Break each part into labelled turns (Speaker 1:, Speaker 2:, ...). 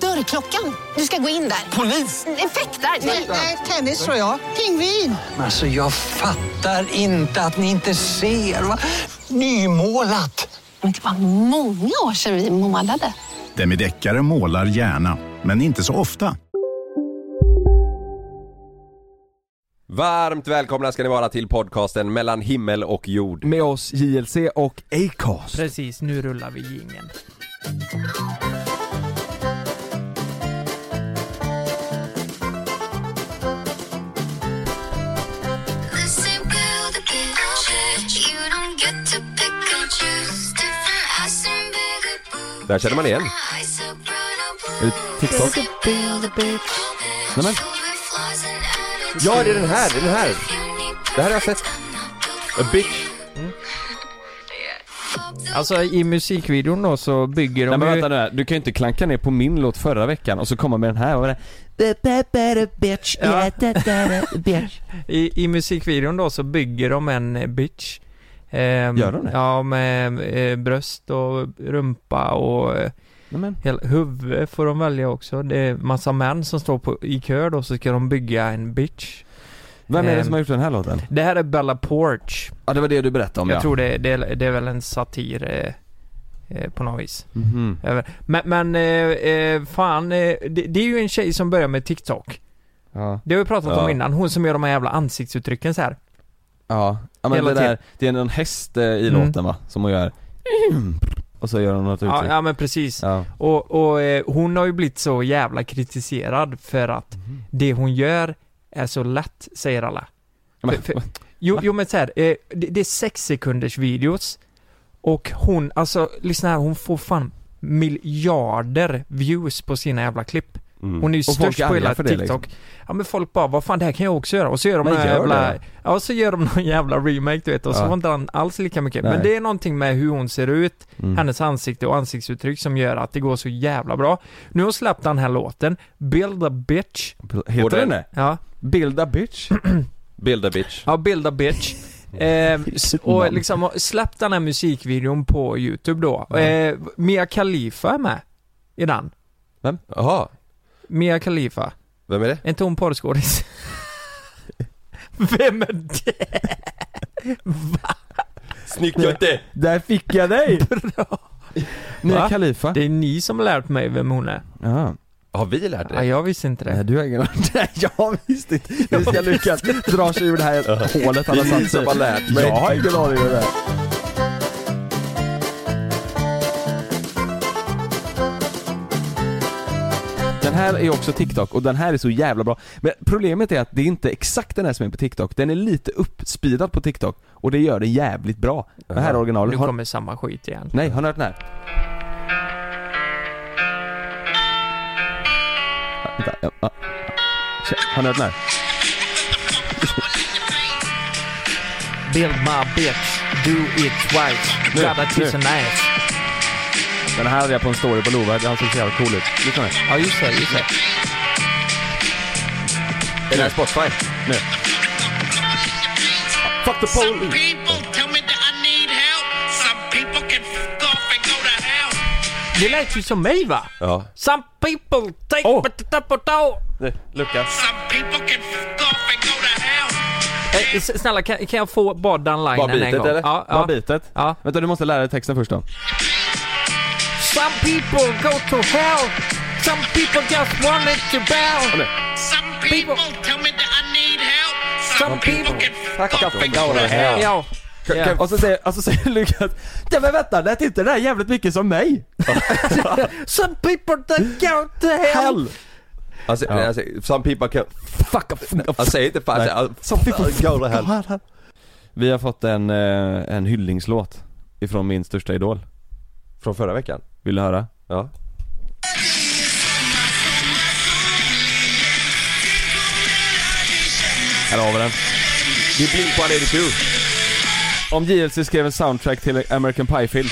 Speaker 1: Dörrklockan. Du ska gå in där. Polis? Effektar? Nej, tennis tror jag. Pingvin.
Speaker 2: Alltså jag fattar inte att ni inte ser. Va? Nymålat!
Speaker 1: Men det var många år sedan vi målade.
Speaker 3: Demideckare målar gärna, men inte så ofta.
Speaker 4: Varmt välkomna ska ni vara till podcasten mellan himmel och jord.
Speaker 5: Med oss JLC och Acast.
Speaker 6: Precis, nu rullar vi jingeln.
Speaker 4: Där känner man igen.
Speaker 5: Är det TikTok? Nej, men.
Speaker 4: Ja, det är den här, det är den här. Det här har jag sett. A bitch.
Speaker 6: Alltså i musikvideon då så bygger
Speaker 5: Nej
Speaker 6: de
Speaker 5: men
Speaker 6: ju...
Speaker 5: vänta nu här. du kan ju inte klanka ner på min låt förra veckan och så komma med den här och den bitch,
Speaker 6: yeah,
Speaker 5: bitch.
Speaker 6: I, I musikvideon då så bygger de en eh, bitch. Ehm,
Speaker 5: Gör de det?
Speaker 6: Ja, med eh, bröst och rumpa och eh,
Speaker 5: Nej, men.
Speaker 6: hela, huvud får de välja också. Det är massa män som står på, i kö då så ska de bygga en bitch.
Speaker 5: Vem är det
Speaker 6: Ehm.
Speaker 5: som har gjort den här låten?
Speaker 6: Det här är Bella Porch.
Speaker 5: Ja det var det du berättade om
Speaker 6: Jag
Speaker 5: ja.
Speaker 6: tror det, det, är- det är väl en satir eh, eh, på något vis.
Speaker 5: Mhm.
Speaker 6: Över- Men, men eh, eh, fan, eh, det, det är ju en tjej som börjar med TikTok.
Speaker 5: Ja.
Speaker 6: Det har vi pratat om
Speaker 4: Ja.
Speaker 6: innan, hon som gör de här jävla ansiktsuttrycken så här.
Speaker 5: Ja, ja men
Speaker 6: Hela
Speaker 5: det där, det är någon häst eh, i
Speaker 6: Mm.
Speaker 5: låten va? Som hon gör Och så gör hon något
Speaker 6: Ja,
Speaker 5: uttryck
Speaker 6: ja men precis.
Speaker 5: Ja.
Speaker 6: Och, och eh, hon har ju blivit så jävla kritiserad för att
Speaker 5: Mhm.
Speaker 6: det hon gör är så lätt, säger alla.
Speaker 5: Men-
Speaker 6: För- för- Jo, jo men så här, eh, det, det är sex sekunders videos och hon, alltså lyssna här, hon får fan miljarder views på sina jävla klipp.
Speaker 4: Mm.
Speaker 6: Hon är ju
Speaker 5: Mm. Och folk
Speaker 6: störst
Speaker 5: är
Speaker 6: på
Speaker 5: arga
Speaker 6: hela
Speaker 5: för
Speaker 6: TikTok.
Speaker 5: det, liksom.
Speaker 6: Ja men folk bara, vad fan det här kan jag också göra. Och så gör de
Speaker 5: Men
Speaker 6: någon
Speaker 5: gör
Speaker 6: jävla,
Speaker 5: det.
Speaker 6: ja så gör de någon jävla remake du vet och så
Speaker 5: Ja.
Speaker 6: var inte han alls lika mycket.
Speaker 5: Nej.
Speaker 6: Men det är någonting med hur hon ser ut,
Speaker 5: Mm.
Speaker 6: hennes ansikte och ansiktsuttryck som gör att det går så jävla bra. Nu har hon släppt den här låten, Build a bitch.
Speaker 5: Heter
Speaker 4: Både-
Speaker 5: den det?
Speaker 6: Ja.
Speaker 5: Build a bitch?
Speaker 4: Build a bitch.
Speaker 6: Ja, Build a Bitch. Eh, s- och liksom har släppt den här musikvideon på youtube då. Eh, Mia Khalifa är med i den.
Speaker 4: Jaha,
Speaker 6: Mia Khalifa.
Speaker 4: vem är det?
Speaker 6: Är inte hon porrskådis? Vem är det?
Speaker 4: Snyggt Götte!
Speaker 5: Där fick jag dig! Mia
Speaker 6: Va?
Speaker 5: Khalifa?
Speaker 6: Det är ni som har lärt mig vem hon är.
Speaker 5: Ja.
Speaker 4: Har vi lärt
Speaker 6: Ja,
Speaker 4: det?
Speaker 6: jag visste inte
Speaker 5: Nej
Speaker 6: det.
Speaker 5: du har ingen Nej jag visste inte hur ska Lukas dra sig ur det här hålet han har
Speaker 4: Det är ni
Speaker 5: satt sig
Speaker 4: som
Speaker 5: i.
Speaker 4: har lärt mig.
Speaker 5: Jag har ingen aning om det Den här är också TikTok och den här är så jävla bra. Men problemet är att det är inte exakt den här som är på TikTok. Den är lite uppspeedad på TikTok och det gör det jävligt bra. Den här är
Speaker 6: Nu
Speaker 5: originalet. Har...
Speaker 6: kommer samma skit igen.
Speaker 5: Nej, har ni hört den här? Vänta, ja, ja. Tja, Har ni hört den här?
Speaker 6: Build my bitch, do it twice,
Speaker 5: Nu,
Speaker 6: grab a
Speaker 5: nu.
Speaker 6: tits and ass.
Speaker 5: Den här hade jag på en story på Lova, han såg så jävla cool ut. Lyssna nu.
Speaker 6: Ja, just det, just det.
Speaker 4: Är det här Spotify?
Speaker 5: nu. Fuck the police!
Speaker 6: Det lät ju som mig va?
Speaker 4: Ja.
Speaker 6: Some people take
Speaker 5: Åh!
Speaker 6: potato.
Speaker 5: Nu, Lukas.
Speaker 6: Eh, s- Snälla, kan, kan jag få bara den linen
Speaker 4: Bara
Speaker 6: en
Speaker 4: bitet
Speaker 6: gång?
Speaker 4: eller?
Speaker 6: Ja,
Speaker 5: Bara
Speaker 6: ja.
Speaker 5: bitet?
Speaker 6: Ja.
Speaker 5: Vänta, du måste lära dig texten först då.
Speaker 6: Some people go to hell. Some people just wanted to bow.
Speaker 5: nu.
Speaker 6: People, some people... Ja. Ja.
Speaker 5: Och så säger, och så säger Lukas, nej men vänta, lät inte det där jävligt mycket som mig?
Speaker 6: Some people that go to hell.
Speaker 5: Hell!
Speaker 4: Alltså,
Speaker 7: Ja.
Speaker 4: alltså, some people can...
Speaker 7: Fuck, fuck,
Speaker 5: Alltså,
Speaker 4: Han säger inte fan
Speaker 7: Nej.
Speaker 4: såhär,
Speaker 7: Some people
Speaker 4: go to hell.
Speaker 5: Vi har fått en, eh, en hyllningslåt ifrån min största idol.
Speaker 4: Från förra veckan?
Speaker 5: Vill du höra?
Speaker 4: Ja.
Speaker 5: Här har vi den.
Speaker 4: Det är Blink-182.
Speaker 5: Om JLC skrev en soundtrack till American Pie-film.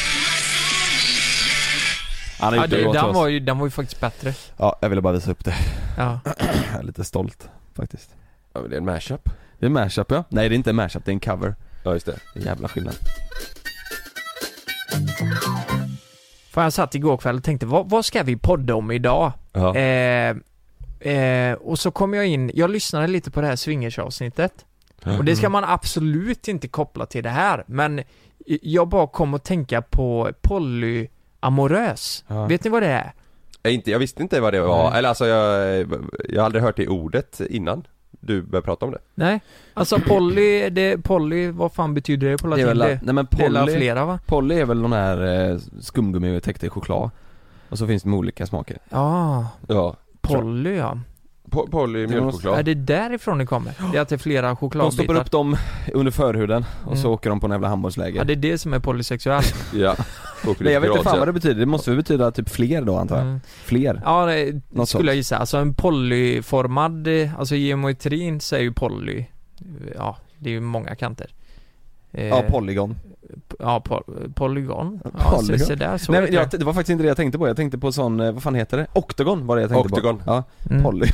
Speaker 5: Han har
Speaker 6: Ja,
Speaker 5: gjort en
Speaker 6: du,
Speaker 5: låt till
Speaker 6: den,
Speaker 5: oss.
Speaker 6: var ju, den var ju faktiskt bättre.
Speaker 5: Ja, jag ville bara visa upp det.
Speaker 6: Ja.
Speaker 5: Jag är lite stolt faktiskt.
Speaker 4: Ja, men det är en mashup.
Speaker 5: Det är en mashup ja. Nej det är inte en mashup, det är en cover.
Speaker 4: Ja, just det.
Speaker 5: Det är Jävla skillnad.
Speaker 6: För jag satt igår kväll och tänkte, vad, vad ska vi podda om idag?
Speaker 4: Ja.
Speaker 6: Eh, eh, och så kom jag in, jag lyssnade lite på det här swingersavsnittet. Och det
Speaker 5: Mm.
Speaker 6: ska man absolut inte koppla till det här, men i- jag bara kom att tänka på polyamorös.
Speaker 5: Ja.
Speaker 6: Vet ni vad det är?
Speaker 4: Jag, inte, jag visste inte vad det var,
Speaker 6: Nej.
Speaker 4: eller alltså jag, jag har aldrig hört det ordet innan du började prata om det.
Speaker 6: Nej? Alltså poly, det, poly, vad fan betyder det på
Speaker 5: Det
Speaker 6: latin?
Speaker 5: är väl,
Speaker 6: det,
Speaker 5: nej men
Speaker 6: det är väl
Speaker 5: Polly,
Speaker 6: flera va?
Speaker 5: Polly är väl de här eh, skumgummi täckt i choklad. Och så finns det med olika smaker.
Speaker 6: Ja,
Speaker 4: Ja.
Speaker 6: poly ja.
Speaker 4: Po- Polly
Speaker 6: Är
Speaker 4: mjölkchoklad.
Speaker 6: det därifrån det kommer? Det är att det är flera
Speaker 5: De stoppar
Speaker 6: chokladbitar?
Speaker 5: upp dem under förhuden och så
Speaker 6: Mm.
Speaker 5: åker de på en jävla handbollsläger.
Speaker 6: Ja, det är det som är polysexuell.
Speaker 4: Ja.
Speaker 5: Nej jag vet inte fan vad det betyder, det måste väl betyda typ fler då antar jag?
Speaker 6: Mm.
Speaker 5: Fler?
Speaker 6: Ja, det
Speaker 5: Något
Speaker 6: skulle
Speaker 5: sånt.
Speaker 6: jag gissa. Alltså en polyformad, eh, alltså geometrin säger ju poly. Ja, det är ju många kanter. Eh,
Speaker 5: Ja, polygon.
Speaker 6: ja po- polygon. Ja,
Speaker 5: Polygon.
Speaker 6: Så, så där så
Speaker 5: Nej,
Speaker 6: heter
Speaker 5: men jag, det var faktiskt inte det jag tänkte på, jag tänkte på sån, eh, vad fan heter det? Oktagon var det jag tänkte
Speaker 4: Oktagon.
Speaker 5: på. Ja,
Speaker 6: det. Mm.
Speaker 5: poly,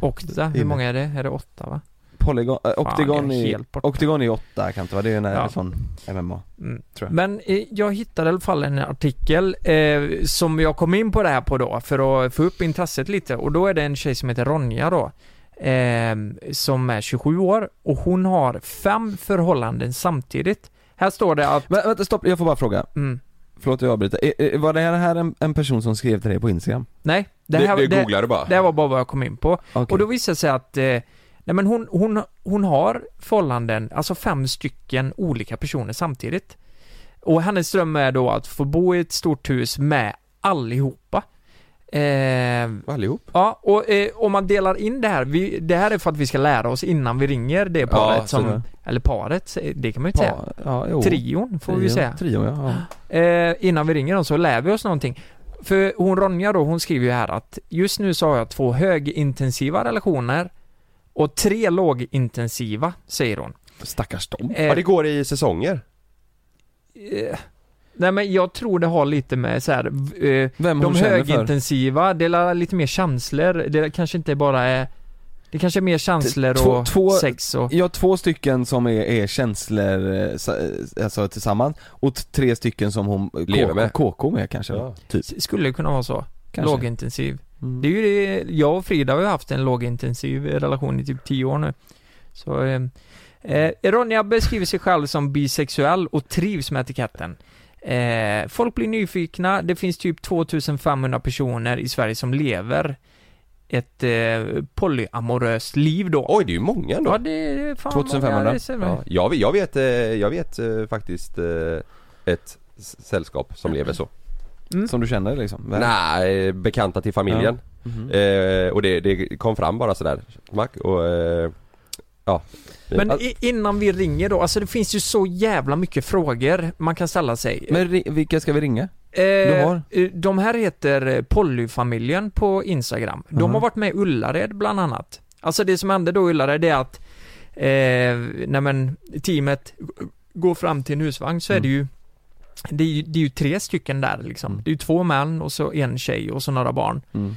Speaker 6: Okta, hur
Speaker 5: Inne.
Speaker 6: många är Mm. det? Är det åtta va?
Speaker 5: polygon, äh,
Speaker 6: Fan,
Speaker 5: oktagon
Speaker 6: jag är
Speaker 5: i,
Speaker 6: helt borta.
Speaker 5: oktagon i åtta kan inte vara, det är ju en
Speaker 6: Ja.
Speaker 5: ja. sån MMA.
Speaker 6: Mm.
Speaker 5: tror jag.
Speaker 6: Men eh, jag hittade i alla fall en artikel eh, som jag kom in på det här på då för att få upp intresset lite och då är det en tjej som heter Ronja då eh, som är 27 år och hon har fem förhållanden samtidigt. Här står det att...
Speaker 5: Men vänta stopp, jag får bara fråga.
Speaker 6: Mm,
Speaker 5: Förlåt att jag avbryter. Eh, eh, Var det här en, en person som skrev till dig på Instagram?
Speaker 6: nej, det
Speaker 4: Det,
Speaker 6: här,
Speaker 4: det,
Speaker 6: det, det,
Speaker 4: googlar du bara.
Speaker 6: här var bara vad jag kom in på.
Speaker 5: Okej.
Speaker 6: Och då visade det sig att eh, nej men hon, hon, hon har förhållanden, alltså fem stycken olika personer samtidigt. Och hennes dröm är då att få bo i ett stort hus med allihopa. Eh,
Speaker 4: Allihop.
Speaker 6: ja, och eh, om man delar in det här, vi, det här är för att vi ska lära oss innan vi ringer det paret
Speaker 4: så
Speaker 6: som,
Speaker 5: det.
Speaker 6: eller paret, det kan man ju inte
Speaker 5: Pa-
Speaker 6: säga.
Speaker 5: ja, jo.
Speaker 6: Trion får vi
Speaker 5: Trion-
Speaker 6: säga
Speaker 5: Trion ja. ja.
Speaker 6: eh, innan vi ringer dem så lär vi oss någonting. För hon Ronja då, hon skriver ju här att just nu så har jag två högintensiva relationer och tre lågintensiva, säger hon.
Speaker 5: Stackars dem.
Speaker 6: Eh,
Speaker 4: Ja, det går i säsonger.
Speaker 6: eh, nej men jag tror det har lite med så här, eh,
Speaker 5: Vem hon
Speaker 6: de
Speaker 5: känner för.
Speaker 6: högintensiva, det är lite mer känslor, det kanske inte bara är det kanske är mer känslor
Speaker 5: Två-
Speaker 6: och
Speaker 5: två-
Speaker 6: sex och...
Speaker 5: Ja, två stycken som är, är känslor, eh, sa- eh, alltså tillsammans. Och t- tre stycken som hon eh,
Speaker 4: Lever
Speaker 5: K-
Speaker 4: med.
Speaker 5: KK med kanske.
Speaker 4: Ja.
Speaker 5: Typ.
Speaker 6: Skulle det kunna vara så.
Speaker 5: Kanske.
Speaker 6: Lågintensiv.
Speaker 5: Mm.
Speaker 6: Det är ju det, jag och Frida har ju haft en lågintensiv relation i typ 10 år nu. Så, eh, eh, Ronja beskriver sig själv som bisexuell och trivs med etiketten. Eh, folk blir nyfikna, det finns typ 2500 personer i Sverige som lever ett eh, polyamoröst liv då.
Speaker 4: Oj, det är ju många ändå.
Speaker 6: Ja, det är fan
Speaker 5: 2500.
Speaker 6: många, det ser man.
Speaker 4: Ja, jag, vet- jag vet, eh, jag vet eh, faktiskt eh, ett s- sällskap som lever så.
Speaker 5: Som du känner liksom? Vem?
Speaker 4: Nej, eh, bekanta till familjen.
Speaker 5: Mhm.
Speaker 4: Eh, och det, det kom fram bara sådär, smack och eh, ja.
Speaker 6: Men
Speaker 4: Att-
Speaker 6: i, innan vi ringer då, alltså det finns ju så jävla mycket frågor man kan ställa sig.
Speaker 5: Men ri- vilka ska vi ringa?
Speaker 6: Eh,
Speaker 5: har?
Speaker 6: eh, De här heter eh, Pollyfamiljen på Instagram. De
Speaker 5: Mhm.
Speaker 6: har varit med i Ullared bland annat. Alltså det som hände då i Ullared det är att eh, när men teamet går fram till en husvagn så är det ju det är, ju, det är ju tre stycken där liksom.
Speaker 5: Mm.
Speaker 6: Det är ju två män och så en tjej och så några barn.
Speaker 5: Mm.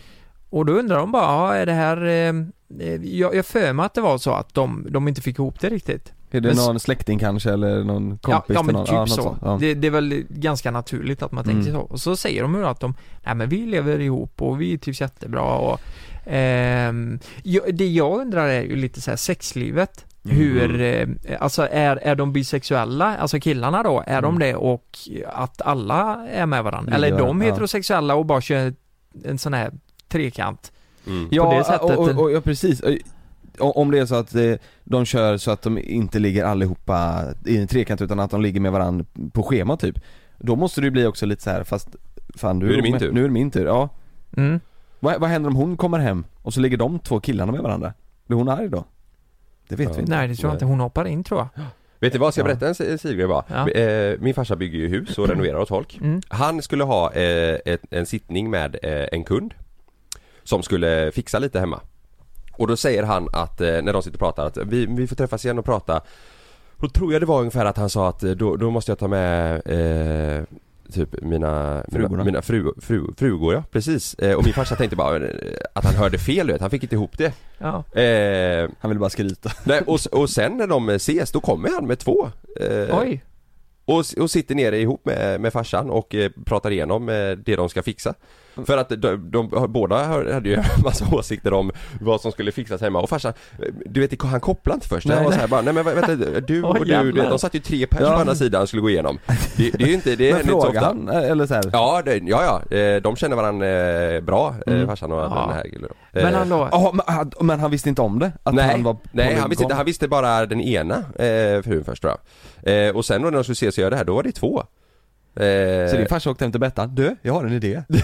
Speaker 6: Och då undrar de bara, ja, är det här... Eh, eh, jag, jag för mig att det var så att de, de inte fick ihop det riktigt.
Speaker 5: Är det
Speaker 6: Men s-
Speaker 5: någon släkting kanske eller någon kompis?
Speaker 6: ja, ja,
Speaker 5: till
Speaker 6: men
Speaker 5: någon?
Speaker 6: typ
Speaker 5: något
Speaker 6: så.
Speaker 5: sånt. Ja.
Speaker 6: Det, det är väl ganska naturligt att man tänker
Speaker 5: Mm.
Speaker 6: så. Och så säger de ju att de, nej men vi lever ihop och vi trivs jättebra och ehm, jag, det jag undrar är ju lite så här sexlivet.
Speaker 5: Mm.
Speaker 6: Hur, eh, alltså är, är de bisexuella, alltså killarna då, är de
Speaker 5: Mm.
Speaker 6: det och att alla är med
Speaker 5: Ligger
Speaker 6: varandra? Eller är de
Speaker 5: varandra, ja.
Speaker 6: heterosexuella och bara kör en sån här trekant?
Speaker 4: Mm.
Speaker 5: Ja,
Speaker 6: det sättet.
Speaker 5: Och, och, och, ja precis. Och- Om det är så att eh, de kör så att de inte ligger allihopa i en trekant utan att de ligger med varandra på schema typ. Då måste det ju bli också lite så här fast fan du
Speaker 4: Nu är det min tur.
Speaker 5: Nu är det min tur, ja.
Speaker 6: Mm.
Speaker 5: Vad- Vad, vad händer om hon kommer hem och så ligger de två killarna med varandra? Blir hon arg då? Det vet vi inte.
Speaker 6: Nej det tror jag inte, hon hoppar in tror jag.
Speaker 8: Vet du vad, jag ska
Speaker 6: Ja.
Speaker 8: berätta en si- sidogrej bara?
Speaker 6: Ja.
Speaker 8: Eh, Min farsa bygger ju hus och renoverar åt folk.
Speaker 6: Mm.
Speaker 8: Han skulle ha eh, ett, en sittning med eh, en kund som skulle fixa lite hemma. Och då säger han att, eh, när de sitter och pratar, att vi, vi får träffas igen och prata. Då tror jag det var ungefär att han sa att eh, då, då måste jag ta med eh, Typ mina, mina,
Speaker 5: Frugorna.
Speaker 8: mina fru, fru, frugor ja, precis. Eh, och min farsa tänkte bara eh, att han hörde fel du vet, han fick inte ihop det.
Speaker 6: Ja.
Speaker 8: Eh,
Speaker 5: Han vill bara skryta.
Speaker 8: nej, och, s- och sen när de ses, då kommer han med två. Eh,
Speaker 6: Oj,
Speaker 8: och, s- och sitter nere ihop med, med farsan och eh, pratar igenom eh, det de ska fixa.
Speaker 6: Mm.
Speaker 8: För att de, de, båda hade ju en massa åsikter om vad som skulle fixas hemma och farsan, eh, du vet han kopplade inte först.
Speaker 6: Nej,
Speaker 8: han var
Speaker 6: nej.
Speaker 8: så här bara, nej men vä- vänta, du
Speaker 6: Åh,
Speaker 8: och du, du vet,
Speaker 6: jävlar.
Speaker 8: de satt ju tre pers
Speaker 5: Ja.
Speaker 8: på andra sidan och skulle gå igenom. Det, det är ju inte, det
Speaker 5: Men
Speaker 8: händer inte så
Speaker 5: frågar
Speaker 8: ofta.
Speaker 5: han, eh, eller så här.
Speaker 8: Ja, det, ja, ja, eh, de känner varandra bra, eh,
Speaker 5: Mm.
Speaker 8: farsan och
Speaker 6: Ja.
Speaker 8: den här killen. då.
Speaker 6: men
Speaker 8: Eh,
Speaker 6: hallå.
Speaker 5: Jaha, men, han- men han visste inte om det? Att
Speaker 8: nej,
Speaker 5: han var
Speaker 8: nej
Speaker 5: på
Speaker 8: han, visste inte,
Speaker 5: gång?
Speaker 8: han visste bara den ena eh, frun först tror jag. Eh, och sen då när de skulle ses och göra det här, då var det två. Eh,
Speaker 5: Så din farsa åkte hem till Bettan, du, jag har en idé.
Speaker 8: du,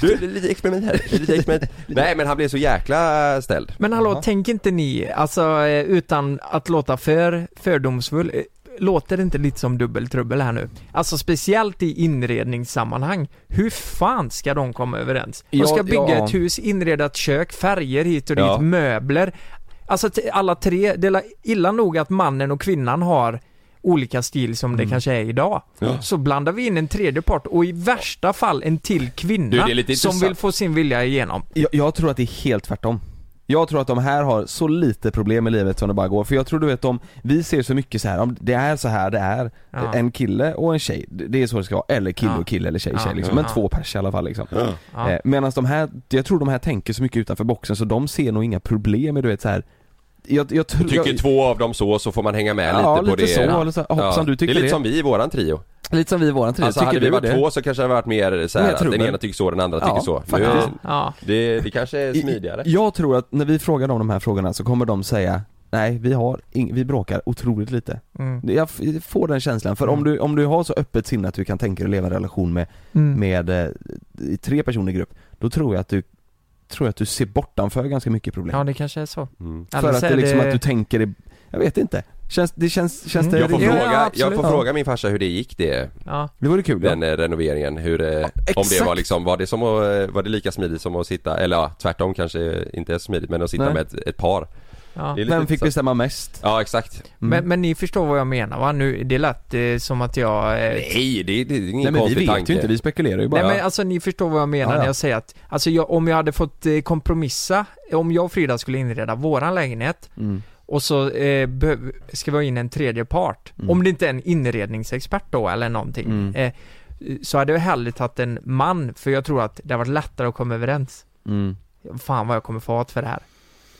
Speaker 8: det är lite experiment här, det är lite experiment. Nej men han blev så jäkla ställd.
Speaker 6: Men hallå,
Speaker 5: Jaha.
Speaker 6: tänk inte ni, alltså eh, utan att låta för fördomsfull, eh, låter det inte lite som dubbeltrubbel här nu? Alltså speciellt i inredningssammanhang, hur fan ska de komma överens? De
Speaker 5: Ja,
Speaker 6: ska bygga
Speaker 5: ja.
Speaker 6: ett hus, inreda ett kök, färger hit och dit,
Speaker 8: Ja.
Speaker 6: möbler. Alltså t- alla tre, det är la- illa nog att mannen och kvinnan har olika stil som
Speaker 8: Mm.
Speaker 6: det kanske är idag. Så blandar vi in en tredje part och i värsta fall en till
Speaker 8: Du,
Speaker 6: kvinna
Speaker 8: det är lite
Speaker 6: som
Speaker 8: intressant.
Speaker 6: vill få sin vilja igenom.
Speaker 5: Jag, jag tror att det är helt tvärtom. Jag tror att de här har så lite problem i livet som det bara går. För jag tror du vet om, vi ser så mycket så här, om det är så här det är.
Speaker 6: Ja.
Speaker 5: En kille och en tjej, det det är så det ska vara. Eller kille
Speaker 6: Ja.
Speaker 5: och kille eller tjej
Speaker 6: Ja.
Speaker 5: tjej liksom. Men
Speaker 6: Ja.
Speaker 5: två pers i alla fall liksom.
Speaker 6: Ja.
Speaker 5: Eh, Medan de här, jag tror de här tänker så mycket utanför boxen så de ser nog inga problem med du vet så här. Jag, jag tror...
Speaker 8: Tycker
Speaker 5: jag,
Speaker 8: två av dem så, så får man hänga med
Speaker 5: ja,
Speaker 8: lite på
Speaker 5: lite
Speaker 8: det.
Speaker 5: så, eller så, här, hoppsan du
Speaker 8: det är
Speaker 5: tycker
Speaker 8: lite
Speaker 5: det.
Speaker 8: som vi i våran trio.
Speaker 5: lite som vi i våran trio,
Speaker 8: Alltså
Speaker 5: tycker
Speaker 8: hade vi
Speaker 5: du
Speaker 8: varit
Speaker 5: det?
Speaker 8: två så kanske det hade varit mer så
Speaker 5: Mer
Speaker 8: här, att den
Speaker 5: trubbel.
Speaker 8: ena tycker så, den andra
Speaker 5: Ja,
Speaker 8: tycker så. Nu,
Speaker 5: faktiskt.
Speaker 6: Ja.
Speaker 8: det, det kanske är smidigare.
Speaker 5: I- Jag tror att när vi frågar dem de här frågorna så kommer de säga Nej vi har, ing- vi bråkar otroligt lite.
Speaker 6: Mm.
Speaker 5: Jag f- får den känslan, för om, du, om du har så öppet sinne att du kan tänka dig att leva i en relation med,
Speaker 6: Mm.
Speaker 5: med eh, i tre personer i grupp, då tror jag att du tror jag att du ser bortanför ganska mycket problem.
Speaker 6: Ja, det kanske är så.
Speaker 8: Mm.
Speaker 5: för
Speaker 6: Annars
Speaker 5: att det
Speaker 6: är
Speaker 5: är liksom
Speaker 6: det-
Speaker 5: att du tänker det, jag vet inte. Känns det, känns, känns
Speaker 6: Mm.
Speaker 5: det
Speaker 8: Jag får,
Speaker 6: Ja, ja,
Speaker 5: rimligt?
Speaker 8: fråga, jag
Speaker 6: absolut.
Speaker 8: får
Speaker 6: Ja.
Speaker 8: fråga min farsa hur det gick det,
Speaker 6: Ja.
Speaker 5: Det vore kul ja.
Speaker 8: den eh, renoveringen, hur, eh, om det
Speaker 5: exakt.
Speaker 8: var liksom, var det, som att, eh, var det lika smidigt som att sitta, eller ja, tvärtom kanske eh, inte är så smidigt men att sitta
Speaker 5: Nej.
Speaker 8: med ett, ett par.
Speaker 6: Ja.
Speaker 8: Det är lite
Speaker 5: Vem fick
Speaker 8: intressant.
Speaker 5: bestämma mest?
Speaker 8: Ja exakt.
Speaker 5: Mm.
Speaker 6: Men, men ni förstår vad jag menar va? Nu, det lät eh, som att jag... Eh, nej.
Speaker 8: Nej det, det är
Speaker 5: Nej
Speaker 8: ingen
Speaker 5: men vi
Speaker 8: konstig
Speaker 5: vet
Speaker 8: tanke.
Speaker 5: ju inte, vi spekulerar ju bara.
Speaker 6: men alltså ni förstår vad jag menar
Speaker 5: Ja, ja.
Speaker 6: när jag säger att, alltså jag, om jag hade fått eh, kompromissa, om jag och Frida skulle inreda våran lägenhet
Speaker 5: Mm.
Speaker 6: och så eh, behöv- ska vi ha in en tredje part, om det inte är en inredningsexpert då eller någonting,
Speaker 5: Mm.
Speaker 6: eh, så hade jag hellre tagit en man, för jag tror att det hade varit lättare att komma överens.
Speaker 5: Mm.
Speaker 6: Fan vad jag kommer få hat för det här.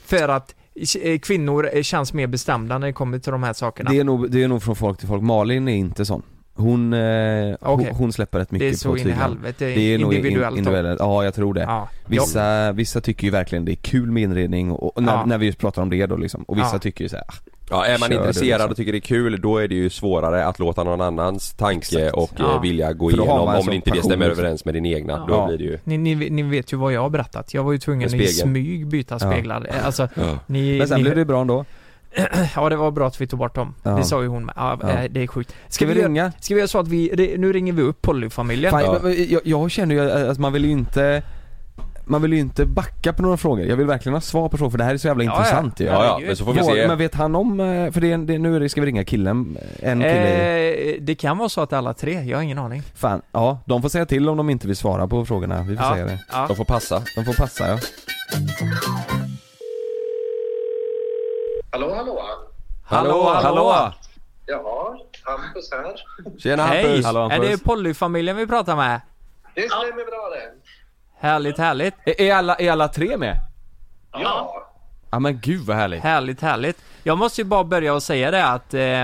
Speaker 6: För att eh, kvinnor eh, känns mer bestämda när det kommer till de här sakerna.
Speaker 5: Det är, nog, det är nog från folk till folk, Malin är inte sån. Hon, eh,
Speaker 6: Okej.
Speaker 5: hon, hon släpper rätt mycket
Speaker 6: Det är så
Speaker 5: på
Speaker 6: in i
Speaker 5: tyglarna.
Speaker 6: helvete,
Speaker 5: Det är nog
Speaker 6: individuellt.
Speaker 5: individuellt.
Speaker 6: då.
Speaker 5: individuellt. Ja, jag tror det.
Speaker 6: Ja. Ja.
Speaker 5: Vissa, vissa tycker ju verkligen det är kul med inredning och, och när,
Speaker 6: Ja.
Speaker 5: när vi just pratar om det då liksom. Och vissa
Speaker 6: Ja.
Speaker 5: tycker ju såhär,
Speaker 8: Ja, är man
Speaker 5: Kör
Speaker 8: intresserad
Speaker 5: det liksom.
Speaker 8: och tycker det är kul då är det ju svårare att låta någon annans tanke
Speaker 5: Exakt.
Speaker 8: och
Speaker 6: Ja.
Speaker 8: ja. vilja gå
Speaker 5: För då har
Speaker 8: igenom
Speaker 5: man
Speaker 8: om
Speaker 5: sån
Speaker 8: det inte det
Speaker 5: passion
Speaker 8: stämmer
Speaker 5: liksom.
Speaker 8: överens med din egna.
Speaker 6: Ja.
Speaker 8: Då
Speaker 5: Ja.
Speaker 8: blir det ju...
Speaker 6: Ni, ni, ni vet ju vad jag har berättat. Jag var ju tvungen att
Speaker 8: Med
Speaker 6: i
Speaker 8: spegeln.
Speaker 6: smyg byta speglar. Alltså,
Speaker 8: Ja.
Speaker 6: ni,
Speaker 5: men sen
Speaker 6: ni,
Speaker 5: blev det bra ändå.
Speaker 6: Ja, det var bra att vi tog bort dem.
Speaker 5: Ja.
Speaker 6: Det sa ju hon med. Ja,
Speaker 5: Ja.
Speaker 6: eh, Det är sjukt. Ska,
Speaker 5: Ska vi
Speaker 6: göra-
Speaker 5: ringa?
Speaker 6: Ska vi göra så att vi, det, nu ringer vi upp Pollyfamiljen.
Speaker 5: Fan,
Speaker 8: Ja.
Speaker 5: jag, jag, jag känner ju att man vill ju inte man vill ju inte backa på några frågor, jag vill verkligen ha svar på frågor för det här är så jävla
Speaker 6: Ja,
Speaker 5: intressant ju.
Speaker 8: Ja, ja, men så får vi
Speaker 5: Ja,
Speaker 8: se.
Speaker 5: men vet han om, eh, för det är, en- det, är- nu är det- ska vi ringa killen, en kille i-
Speaker 6: Eh, det kan vara så att alla tre, jag har ingen aning.
Speaker 5: Fan, ja de får säga till om de inte vill svara på frågorna, vi får
Speaker 6: Ja.
Speaker 5: säga det.
Speaker 6: Ja.
Speaker 8: De får passa.
Speaker 5: De får passa ja.
Speaker 9: Hallå, hallå!
Speaker 6: Hallå, hallå!
Speaker 9: Ja, Hampus här.
Speaker 8: Tjena
Speaker 6: Hej!
Speaker 8: Hampus!
Speaker 5: Hallå,
Speaker 6: Är
Speaker 5: puss.
Speaker 6: det Pollyfamiljen vi pratar med?
Speaker 9: Det stämmer bra det.
Speaker 6: Härligt, härligt.
Speaker 5: Är, är, alla, är alla tre med?
Speaker 9: Ja.
Speaker 5: Ja men gud vad härligt.
Speaker 6: Härligt, härligt. Jag måste ju bara börja och säga det att eh,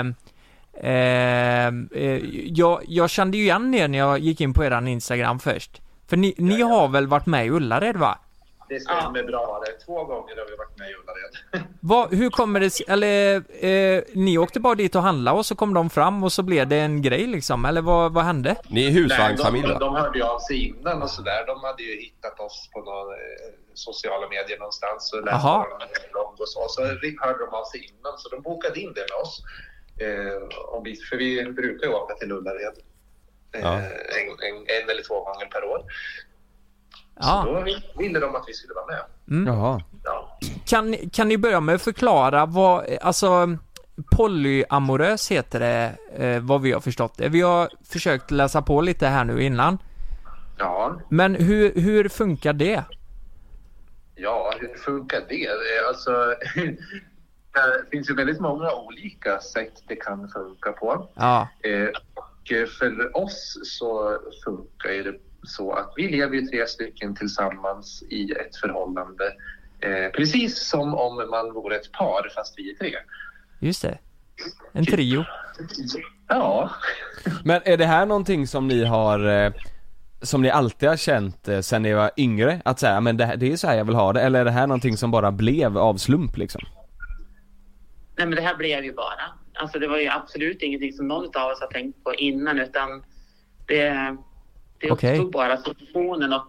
Speaker 6: eh, eh, jag, jag kände ju igen er när jag gick in på eran Instagram först. För ni, ni har väl varit med i Ullared va?
Speaker 8: det stämmer bra det. Två gånger har vi varit med i Ullared.
Speaker 6: Vad, hur kommer det sig- eller eh, ni åkte bara dit och handlade och så kom de fram och så blev det en grej liksom, eller vad, vad hände?
Speaker 4: Ni är
Speaker 8: Nej, de, de hörde ju av sig innan och sådär. De hade ju hittat oss på några eh, sociala medier någonstans och läste
Speaker 6: Jaha.
Speaker 8: vår blogg och så. Och så ring- hörde de av sig innan så de bokade in det med oss. Eh, om vi, för vi brukar ju åka till Ullared eh,
Speaker 4: Ja.
Speaker 8: en, en, en eller två gånger per år.
Speaker 4: Ah.
Speaker 6: Ja.
Speaker 8: Så då vill- ville de att vi skulle vara med.
Speaker 6: Mm.
Speaker 5: Jaha.
Speaker 6: Kan, ni- kan ni börja med att förklara vad, alltså polyamorös heter det, eh, vad vi har förstått det. Vi har försökt läsa på lite här nu innan.
Speaker 8: Ja.
Speaker 6: Men hur, hur funkar det?
Speaker 8: Ja, hur funkar det? Eh, Alltså, det finns ju väldigt många olika sätt det kan funka på.
Speaker 6: Ja.
Speaker 8: Eh, och eh, för oss så funkar ju det så att vi lever ju tre stycken tillsammans i ett förhållande. Eh, precis som om man vore ett par fast vi är tre.
Speaker 6: Just det. En trio.
Speaker 8: Ja,
Speaker 5: Men är det här någonting som ni har eh, som ni alltid har känt eh, sen ni var yngre? Att säga men det, här- det är så här jag vill ha det, eller är det här någonting som bara blev av slump liksom?
Speaker 10: Nej, men det här blev ju bara. Alltså, det var ju absolut ingenting som någon av oss har tänkt på innan, utan det, det
Speaker 6: Okej.
Speaker 10: uppstod bara situationen och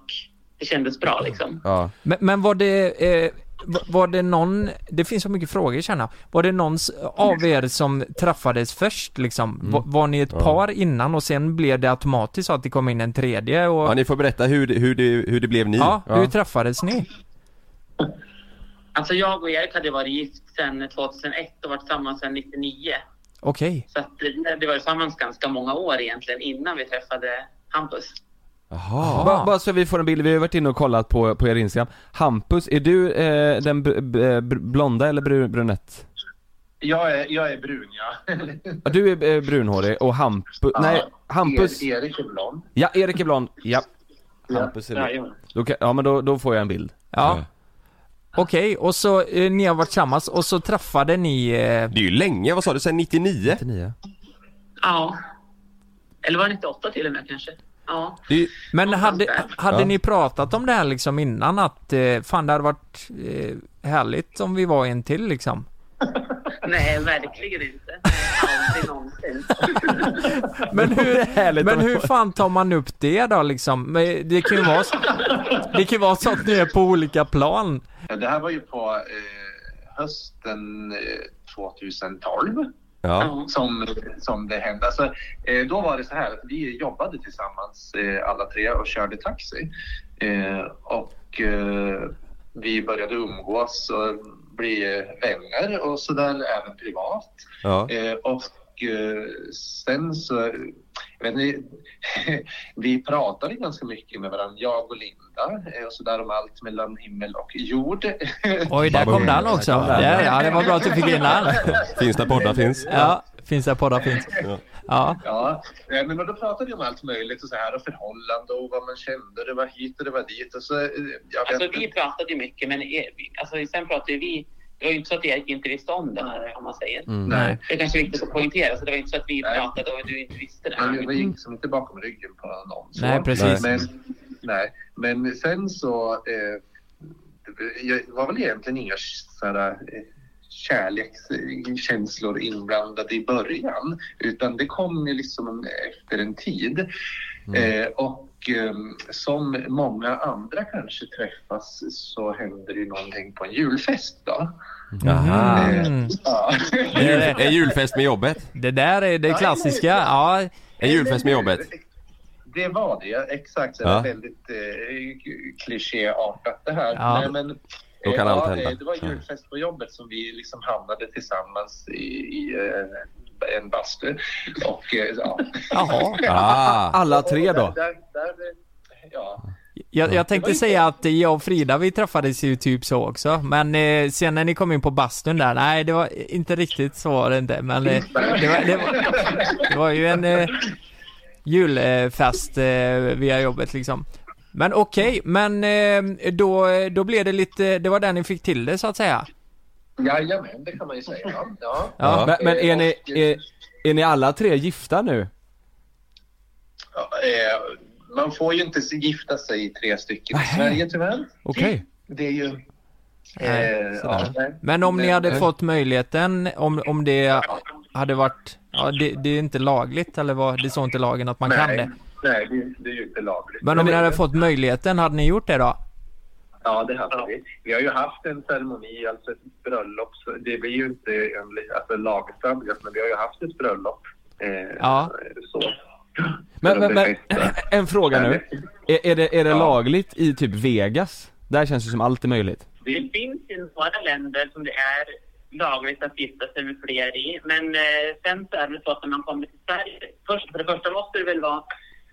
Speaker 10: det kändes bra liksom.
Speaker 5: Ja.
Speaker 6: Men, men var det, eh, va- var det någon, det finns så mycket frågor känner jag. Var det någon s- av er som träffades först liksom? Va- Var, ni ett
Speaker 4: Ja.
Speaker 6: par innan och sen blev det automatiskt så att det kom in en tredje och...
Speaker 4: Ja, ni får berätta hur, det- hur, det, hur det blev ni.
Speaker 6: Ja, hur träffades ni?
Speaker 10: Alltså jag och Erik hade varit gift sedan 2001 och varit tillsammans sedan 99.
Speaker 6: Okej.
Speaker 10: Så att det, det var ju tillsammans ganska många år egentligen innan vi träffade Hampus.
Speaker 5: Jaha. Bara, bara så vi får en bild, vi har ju varit inne och kollat på, på er Instagram. Hampus, är du eh, den br- br- br- blonda eller br- brunett?
Speaker 8: jag är, jag är brun ja.
Speaker 5: Ja, Du är eh, brunhårig och Hampus, nej Hampus,
Speaker 8: Er, Erik är blond.
Speaker 5: ja Erik är blond, ja.
Speaker 8: Ja,
Speaker 5: Hampus är
Speaker 8: jajamän.
Speaker 5: brun. Då kan- Ja men då, då får jag en bild.
Speaker 6: Ja. Okej, och så eh, ni har varit tillsammans och så träffade ni... Eh...
Speaker 4: Det är ju länge, vad sa du, sen 99?
Speaker 5: 99.
Speaker 10: Ja. Eller var det 98 till och med kanske? Ja.
Speaker 6: Men hade, hade
Speaker 10: Ja.
Speaker 6: ni pratat om det här liksom innan att eh, fan det hade varit eh, härligt om vi var en till liksom?
Speaker 10: Nej, verkligen inte. Aldrig någonsin.
Speaker 6: Men
Speaker 5: hur,
Speaker 6: men hur fan tar man upp det då liksom? Men Det kan ju vara så, det kan ju vara så att ni är på olika plan.
Speaker 8: Ja, det här var ju på eh, hösten eh, 2012
Speaker 4: Ja.
Speaker 8: som, som det hände. Alltså, eh, då var det så här att vi jobbade tillsammans eh, alla tre och körde taxi. Eh, och eh, vi började umgås och bli eh, vänner och sådär även privat.
Speaker 4: Ja.
Speaker 8: Eh, och eh, sen så, jag vet ni, vi pratade ganska mycket med varandra, jag och Linda, eh, och sådär om allt mellan himmel och jord.
Speaker 6: Oj, där kom den också. Ja, ja, det var bra att du fick in den.
Speaker 4: Finns där poddar finns.
Speaker 6: Ja, finns där poddar finns. Ja.
Speaker 8: Ja, eh, men då pratade vi om allt möjligt och så här och förhållande och vad man kände, det var hit och det var dit och så, eh, jag vet
Speaker 10: Alltså
Speaker 8: inte.
Speaker 10: vi pratade ju mycket, men er, alltså, sen pratade vi... Det var ju inte så att Erik inte visste om det här, om man säger.
Speaker 8: Mm. Nej.
Speaker 10: Det är kanske är viktigt att poängtera, så det var inte så att vi pratade och du inte visste det.
Speaker 8: Men vi gick som liksom inte bakom ryggen på någon. Så.
Speaker 6: Nej, precis.
Speaker 8: Men, nej. men sen så... Eh, det var väl egentligen inga så här, eh, kärlekskänslor inblandade i början. Utan det kom ju liksom en- efter en tid.
Speaker 6: Mm.
Speaker 8: Eh, och eh, som många andra kanske träffas så händer det ju någonting på en julfest då.
Speaker 4: Aha.
Speaker 8: Eh, ja.
Speaker 4: En, jul, en julfest med jobbet.
Speaker 6: Mm. Det där är det klassiska. Ja.
Speaker 4: En julfest med jobbet.
Speaker 8: Det var det, exakt. Det
Speaker 4: Ja.
Speaker 8: var väldigt eh, klichéartat det här.
Speaker 4: Ja.
Speaker 8: Nej, men,
Speaker 4: Då kan
Speaker 8: eh,
Speaker 4: allt
Speaker 8: ja,
Speaker 4: hända. Mm.
Speaker 8: eh, Det var julfest på jobbet som vi liksom hamnade tillsammans i, i eh, en bastu. Och, eh, ja.
Speaker 4: Ah.
Speaker 5: Alla tre då?
Speaker 8: Där, där, eh, ja.
Speaker 6: Jag, jag tänkte säga att jag och Frida vi träffades ju typ så också, men eh, sen när ni kom in på bastun där, nej det var inte riktigt så var det inte, men eh, det, var, det, var, det var ju en eh, julfest eh, via jobbet liksom. Men okej, men eh, då, då blev det lite, det var där ni fick till det så att säga?
Speaker 8: Jajamän, det kan man ju säga. Ja. Ja.
Speaker 5: Ja. Men, men är,
Speaker 8: Eh,
Speaker 5: ni, är, är ni alla tre gifta nu?
Speaker 8: och, eh, man får ju inte gifta sig i tre stycken i Sverige tyvärr.
Speaker 5: Okej.
Speaker 8: det är ju...
Speaker 6: Nej,
Speaker 8: eh,
Speaker 6: sådär.
Speaker 8: ja,
Speaker 6: Men om ni hade
Speaker 8: Nej. Eh,
Speaker 6: fått möjligheten, om, om det hade varit, ja det, det är inte lagligt eller vad, det står inte i lagen att man kan
Speaker 8: nej,
Speaker 6: det.
Speaker 8: Nej, det, det är ju inte lagligt.
Speaker 6: Men om ni hade fått möjligheten, hade ni gjort det då?
Speaker 8: Ja, det hade vi. Vi har ju haft en ceremoni, alltså ett bröllop. Så det blir ju inte enligt alltså lagstadgat, men vi har ju haft ett bröllop. Eh,
Speaker 5: Ja.
Speaker 8: Så.
Speaker 5: Men, men, men en fråga nu. Är, är det, är det lagligt i typ Vegas? Där känns det som allt är möjligt.
Speaker 10: Det finns ju några länder som det är lagligt att gifta sig med fler i. Men eh, sen så är det så att när man kommer till Sverige, först, för det första måste det väl vara,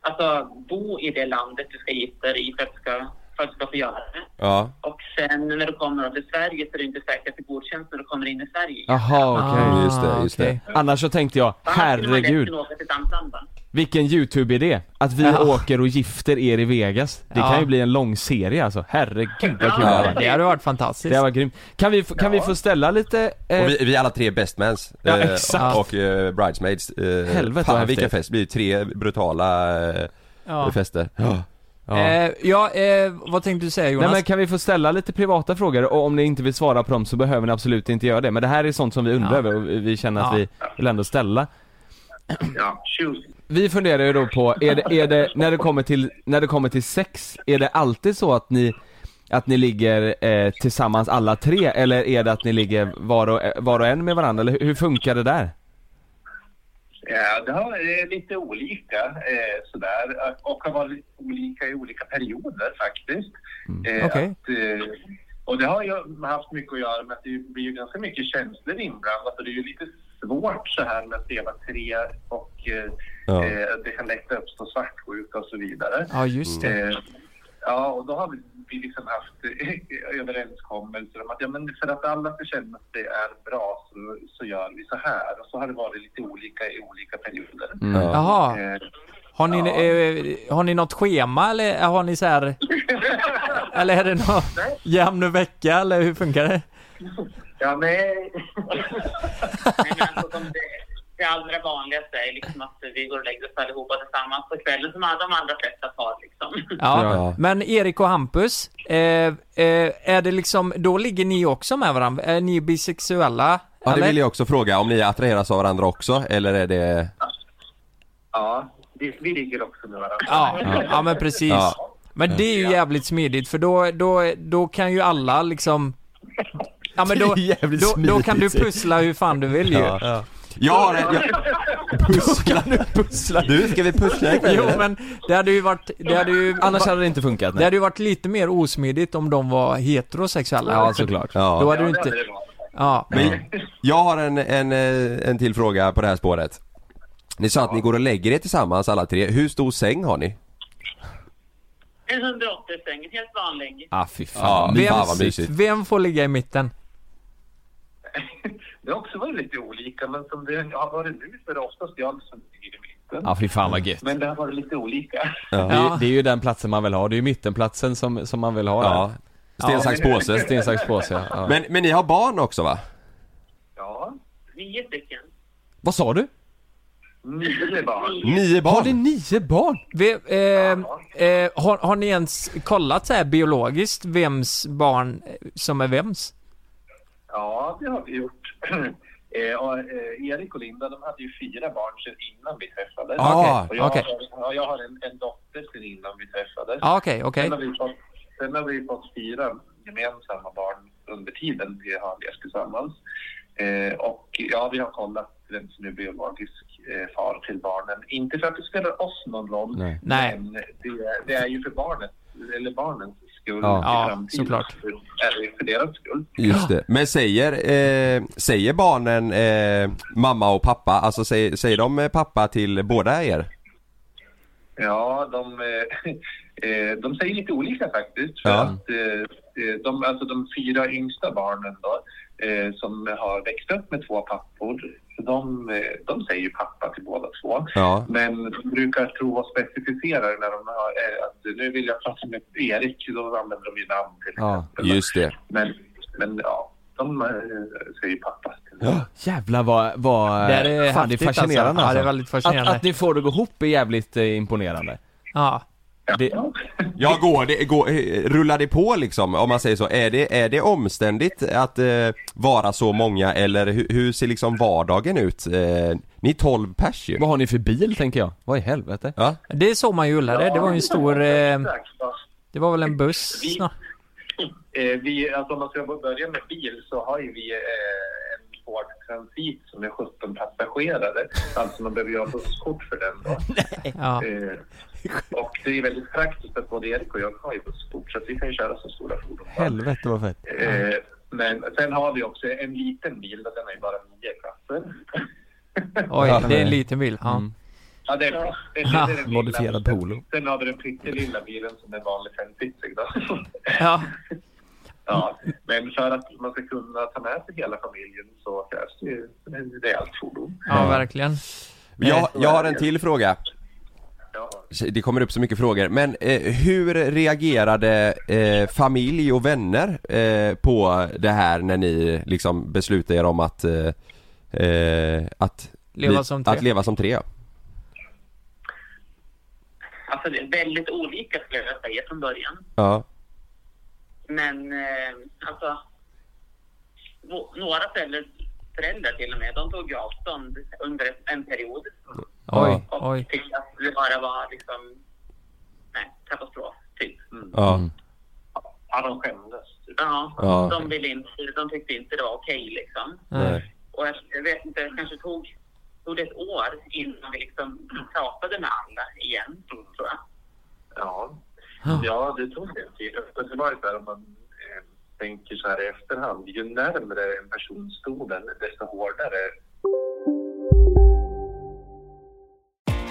Speaker 10: alltså bo i det landet du ska gifta dig i för att du ska, för att du ska få göra det.
Speaker 4: Ja.
Speaker 10: Och sen när du kommer till Sverige så är det inte säkert att det godkänns när du kommer in i Sverige.
Speaker 5: Jaha okej.
Speaker 10: Ah,
Speaker 5: Just det, just det. Annars så tänkte jag, herregud.
Speaker 10: Man åka till ett annat land va?
Speaker 5: Vilken YouTube-idé! Att vi
Speaker 10: Ja.
Speaker 5: åker och gifter er i Vegas. Det
Speaker 6: Ja.
Speaker 5: kan ju bli en lång serie alltså. Herregud vad kul
Speaker 6: Ah, Ja,
Speaker 5: varit.
Speaker 6: det hade varit fantastiskt.
Speaker 5: Det hade varit grymt. Kan vi, få- kan vi få ställa lite... eh,
Speaker 4: Och vi, vi alla tre är bestmans
Speaker 5: Ja,
Speaker 4: eh,
Speaker 5: exakt.
Speaker 4: och eh, bridesmaids eh,
Speaker 5: Helvete, vad
Speaker 4: Fan
Speaker 5: häftigt.
Speaker 4: vilken fest, det blir ju tre brutala eh,
Speaker 6: Ja.
Speaker 4: fester ja.
Speaker 6: Eh, ja, eh, vad tänkte du säga Jonas?
Speaker 5: Nej men kan vi få ställa lite privata frågor och om ni inte vill svara på dem så behöver ni absolut inte göra det. Men det här är sånt som vi undrar över och vi känner att
Speaker 6: Ja.
Speaker 5: vi vill ändå ställa.
Speaker 8: Ja, shoot.
Speaker 5: Vi funderar ju då på, är det, är det, när, det kommer till, när det kommer till sex, är det alltid så att ni, att ni ligger eh, tillsammans alla tre eller är det att ni ligger var och, var och en med varandra? Eller hur, hur funkar det där?
Speaker 8: Ja, det har eh, lite olika eh, sådär och har varit olika i olika perioder faktiskt. Eh,
Speaker 6: Mm. Okej.
Speaker 8: att, eh, och det har ju haft mycket att göra med att det blir ju ganska mycket känslor inblandat och det är ju lite svårt så här med att leva tre och eh,
Speaker 6: Ja.
Speaker 8: eh, det kan lätt uppstå svartsjuka och så vidare.
Speaker 6: Ja, just det.
Speaker 8: Eh, Ja, och då har vi, vi liksom haft eh, överenskommelser om att ja, men för att alla ska känna att det är bra så, så gör vi så här. Och så har det varit lite olika i olika perioder.
Speaker 6: Mm. Jaha.
Speaker 8: Eh,
Speaker 6: Har ni, eh, har ni något schema eller har ni så här... eller är det någon jämn vecka eller hur funkar det?
Speaker 8: Ja, nej.
Speaker 10: Nej, men alltså, som det, det allra vanligaste är liksom att vi går och lägger oss allihopa tillsammans på kvällen som de andra flesta par liksom.
Speaker 6: Ja.
Speaker 10: Ja.
Speaker 6: Men Erik och Hampus, eh, eh, är det liksom, då ligger ni också med varandra? Är ni bisexuella?
Speaker 4: ja det
Speaker 6: eller?
Speaker 4: vill jag också fråga, om ni attraheras av varandra också eller är det
Speaker 8: Ja, vi, vi ligger också med varandra.
Speaker 6: Ja, ja men precis.
Speaker 4: Ja.
Speaker 6: Men det är ju jävligt smidigt för då, då, då kan ju alla liksom... Ja men då,
Speaker 4: Det är jävligt
Speaker 6: då, då kan du
Speaker 4: smidigt.
Speaker 6: pussla hur fan du vill ju.
Speaker 4: Ja. Jag har en, jag...
Speaker 6: Pussla nu, pussla.
Speaker 4: Du, ska vi pussla ikväll,
Speaker 6: Jo
Speaker 4: eller?
Speaker 6: men det hade ju varit... Det hade ju,
Speaker 5: Annars hade det inte funkat.
Speaker 6: Det hade ju varit lite mer osmidigt om de var heterosexuella.
Speaker 4: Ja, såklart. Ja.
Speaker 6: Då hade du
Speaker 4: Ja, det
Speaker 6: inte...
Speaker 4: hade det
Speaker 6: Ja.
Speaker 4: Men jag har en, en, eh, en till fråga på det här spåret Ni sa att ni går och lägger er tillsammans alla tre, hur stor säng har ni?
Speaker 10: En 180 säng, en helt vanlig.
Speaker 5: Ah fy
Speaker 4: fan,
Speaker 6: vem,
Speaker 4: fan vad mysigt.
Speaker 6: vem får ligga i mitten?
Speaker 8: Det har också varit lite olika, men som det har varit nu så är det oftast jag som ligger i mitten.
Speaker 5: Ja Ah, fy fan vad gött.
Speaker 8: Men det har varit lite olika.
Speaker 5: Det, är- det är ju den platsen man vill ha, det är ju mittenplatsen som, som man vill ha
Speaker 4: Ja.
Speaker 5: där.
Speaker 4: Sten, sax, påse.
Speaker 5: Sten, sax, påse ja. ja.
Speaker 4: Men, men ni har barn också va?
Speaker 8: Ja,
Speaker 10: nio stycken.
Speaker 5: Vad sa du?
Speaker 8: Nio barn.
Speaker 4: Nio barn?
Speaker 5: Har ni nio barn?
Speaker 6: Vi, eh, eh, har, har ni ens kollat så här biologiskt vems barn eh, som är vems?
Speaker 8: Ja, det har vi gjort. Eh, och, eh, Erik och Linda de hade ju fyra barn sedan innan vi träffades.
Speaker 6: Ah, okej,
Speaker 8: och jag,
Speaker 6: okej.
Speaker 8: har, ja, jag har en, en dotter sedan innan vi träffades.
Speaker 6: Ah, okej, okej.
Speaker 8: Sen, har vi fått, sen har vi fått fyra gemensamma barn under tiden vi har levt tillsammans. Eh, och ja, vi har kollat vem som är biologisk eh, far till barnen. Inte för att det spelar oss någon roll,
Speaker 5: Nej.
Speaker 6: Nej.
Speaker 8: men det, det är ju för barnet, eller barnens skull
Speaker 4: Ja.
Speaker 8: i
Speaker 4: Ja,
Speaker 8: framtiden.
Speaker 4: såklart.
Speaker 8: Är det för deras skull.
Speaker 4: Just det. Men säger, eh, säger barnen eh, mamma och pappa, alltså säger, säger de eh, pappa till båda er?
Speaker 8: Ja, de, eh, eh, de säger lite olika faktiskt. För
Speaker 4: Ja.
Speaker 8: att, eh, eh, de, alltså de fyra yngsta barnen då, eh, som har växt upp med två pappor, de, eh, de säger ju pappa till båda två.
Speaker 4: Ja.
Speaker 8: Men de brukar tro och specificera när de har, eh, att nu vill jag prata med Erik, då använder de ju namn till
Speaker 5: Ja.
Speaker 4: Just det.
Speaker 8: Men, men ja, de eh, säger pappa.
Speaker 5: Jävlar vad, vad
Speaker 6: Det här är
Speaker 5: fan, det är
Speaker 6: häftigt,
Speaker 5: fascinerande alltså.
Speaker 6: alltså. Ja, det är väldigt fascinerande.
Speaker 5: Att, att ni får det gå ihop är jävligt eh, imponerande.
Speaker 6: Ja.
Speaker 5: Det, ja, går det, går, eh, rullar det på liksom? Om man säger så. Är det, är det omständigt att eh, vara så många eller hur, hur ser liksom vardagen ut? Eh, ni är 12 pers ju.
Speaker 11: Vad har ni för bil tänker jag? Vad i helvete?
Speaker 5: Ja.
Speaker 6: Det är så man ju ullade. Det var ju en stor... Eh,
Speaker 8: Exakt.
Speaker 6: det var väl en buss
Speaker 8: Vi-
Speaker 6: snart.
Speaker 8: Eh, vi, alltså om man ska börja med bil så har ju vi eh, en Ford Transit som är 17 passagerare. Alltså man behöver ju ha busskort för den då.
Speaker 6: Ja.
Speaker 8: Eh, och det är väldigt praktiskt att både Erik och jag har ju busskort så att vi kan ju köra så stora fordon.
Speaker 11: Helvete vad fett.
Speaker 8: Eh, men sen har vi också en liten bil, och den har ju bara nio platser.
Speaker 6: Oj,
Speaker 11: Ja,
Speaker 6: det är
Speaker 11: nej.
Speaker 6: en liten bil. Ja.
Speaker 5: Mm.
Speaker 8: Ja, det är, det är, det är den lilla.
Speaker 11: Modifierad polo.
Speaker 8: Sen har vi den pyttelilla bilen som är vanlig femsitsig då.
Speaker 6: Ja.
Speaker 8: Ja, men för att man ska kunna ta med sig hela familjen så krävs det ju en rejält fordon.
Speaker 6: ja, verkligen.
Speaker 5: Jag, jag har en till fråga. Det kommer upp så mycket frågor. Men eh, hur reagerade eh, familj och vänner eh, på det här när ni liksom beslutade er om att eh, eh, att,
Speaker 6: Leva som tre.
Speaker 5: att leva som tre?
Speaker 12: Alltså det är väldigt olika skulle jag säga från början.
Speaker 5: Ja.
Speaker 12: Men eh, alltså, no- några föräldrar, föräldrar till och med, de tog ju avstånd under en period.
Speaker 6: Oj,
Speaker 12: och
Speaker 6: oj.
Speaker 12: tyckte att det bara var liksom, nej, katastrof typ.
Speaker 5: Ja.
Speaker 8: Ja, de skämdes. typ.
Speaker 12: Ja,
Speaker 5: Ja.
Speaker 12: De, ville inte, de tyckte inte det var okej liksom.
Speaker 5: Nej.
Speaker 12: Och jag, jag vet inte, det kanske tog, tog det ett år innan vi liksom pratade med alla igen, tror jag.
Speaker 8: Ja, ja det tog en tid. Men det var ju så här om man eh, tänker så här i efterhand. Ju närmare en person stolen, desto hårdare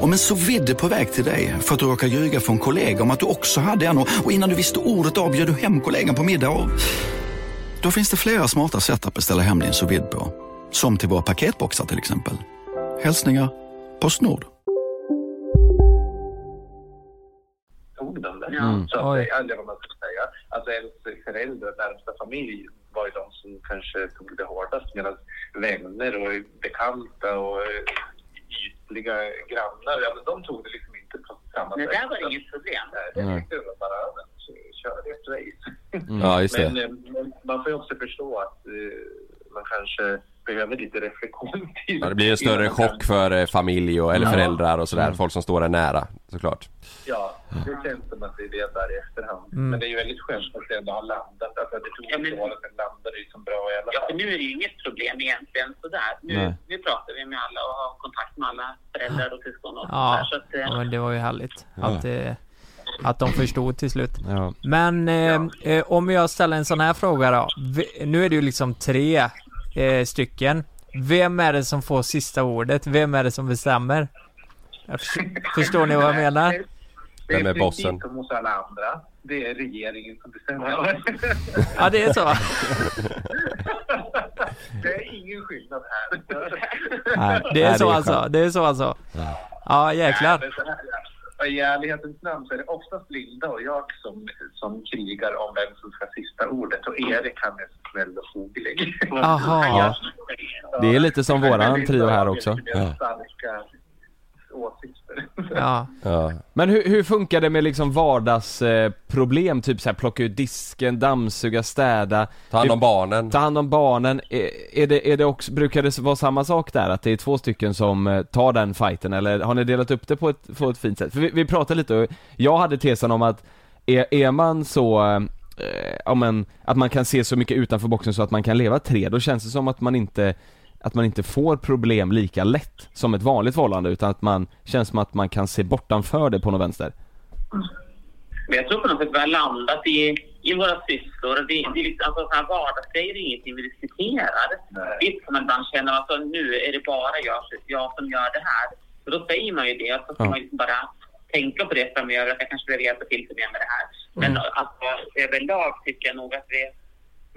Speaker 3: Om en så vidde på väg till dig för att du råkar ljuga från kollega om att du också hade en och och innan du visste ordet av bjöd du hem kollegan på middag och... Då finns det flera smarta sätt att beställa hem din sous vide på. Som till våra paketboxar till exempel. Hälsningar Postnord.
Speaker 8: tog den där.
Speaker 3: Mm.
Speaker 8: Så att,
Speaker 3: Oj.
Speaker 8: det- eller vad man ska säga. Alltså ens föräldrar, närmsta familj var ju de som kanske tog det hårdast medan vänner och bekanta och eh, ytliga grannar, ja men de tog det liksom inte på samma
Speaker 12: Det
Speaker 8: sätt.
Speaker 12: där var inget problem.
Speaker 8: Jag tyckte det var bara, ja, men, kö- kör ett race.
Speaker 5: Mm. Ja, just det.
Speaker 8: Men, eh, men man får ju också förstå att eh, man kanske behöver lite reflektion till.
Speaker 5: Ja, det blir en större
Speaker 8: innan man
Speaker 5: chock för eh, familj och, eller
Speaker 8: Ja.
Speaker 5: föräldrar och sådär.
Speaker 8: Mm.
Speaker 5: Folk som står en nära såklart.
Speaker 8: Ja, det känns som att det är det där i efterhand.
Speaker 5: Mm.
Speaker 8: Men det är ju väldigt skönt att det ändå har landat. Alltså, det tog ett år och sen landade det ju som bra i alla
Speaker 12: Ja,
Speaker 8: fall.
Speaker 12: för nu är det ju inget problem egentligen sådär.
Speaker 8: Nej.
Speaker 12: Nu, nu pratar vi med alla och har kontakt med alla föräldrar och syskon och
Speaker 6: Ja,
Speaker 12: sådär. Så att, eh,
Speaker 6: ja men det var ju härligt
Speaker 12: Ja.
Speaker 6: att, eh, att de förstod till slut.
Speaker 11: Ja.
Speaker 6: Men eh, eh, om jag ställer en sån här fråga då. V- Nu är det ju liksom tre eh, stycken. Vem är det som får sista ordet? Vem är det som bestämmer? Jag förs- förstår ni vad jag menar?
Speaker 8: Det
Speaker 6: Vem är
Speaker 8: precis
Speaker 6: bossen?
Speaker 8: som hos alla andra. Det är regeringen som bestämmer.
Speaker 6: Ja, det är så.
Speaker 8: det är ingen skillnad här.
Speaker 6: Nej, det är så alltså. Det är så alltså. Ja, jäklar.
Speaker 8: Nej, men så här, ja. I ärlighetens namn så är det oftast Linda och jag som, som krigar om vem som ska ha sista ordet och Erik han är snäll och foglig.
Speaker 11: Aha.
Speaker 8: Han gör-
Speaker 11: Det är lite som våran trio här också.
Speaker 8: Det är starka åsikter.
Speaker 6: Ja.
Speaker 5: Men hur, hur funkar det med liksom vardagsproblem? typ så här, plocka ut disken, dammsuga, städa? Typ
Speaker 4: Ta hand om barnen?
Speaker 5: Ta hand om barnen. Eh, Är, är det, är det också, brukar det vara samma sak där? Att det är två stycken som eh, tar den fighten? Eller har ni delat upp det på ett, på ett fint sätt? För vi, vi pratade lite, och jag hade tesen om att är, är man så eh, ja, men, att man kan se så mycket utanför boxen så att man kan leva tre, då känns det som att man inte att man inte får problem lika lätt som ett vanligt förhållande utan att man känns som att man kan se bortanför det på något vänster.
Speaker 10: Men jag tror på något sätt vi har landat i, i våra sysslor. Det, det är liksom, alltså, sådana här vardagsgrejer är ingenting vi diskuterar. Visst kan man ibland känna att alltså, nu är det bara jag, jag som gör det här. Så då säger man ju det och så ska
Speaker 5: Ja.
Speaker 10: man liksom bara tänka på det framöver att jag kanske behöver hjälpa till lite mer med det här. Men
Speaker 6: Mm.
Speaker 10: alltså, överlag tycker jag nog att vi,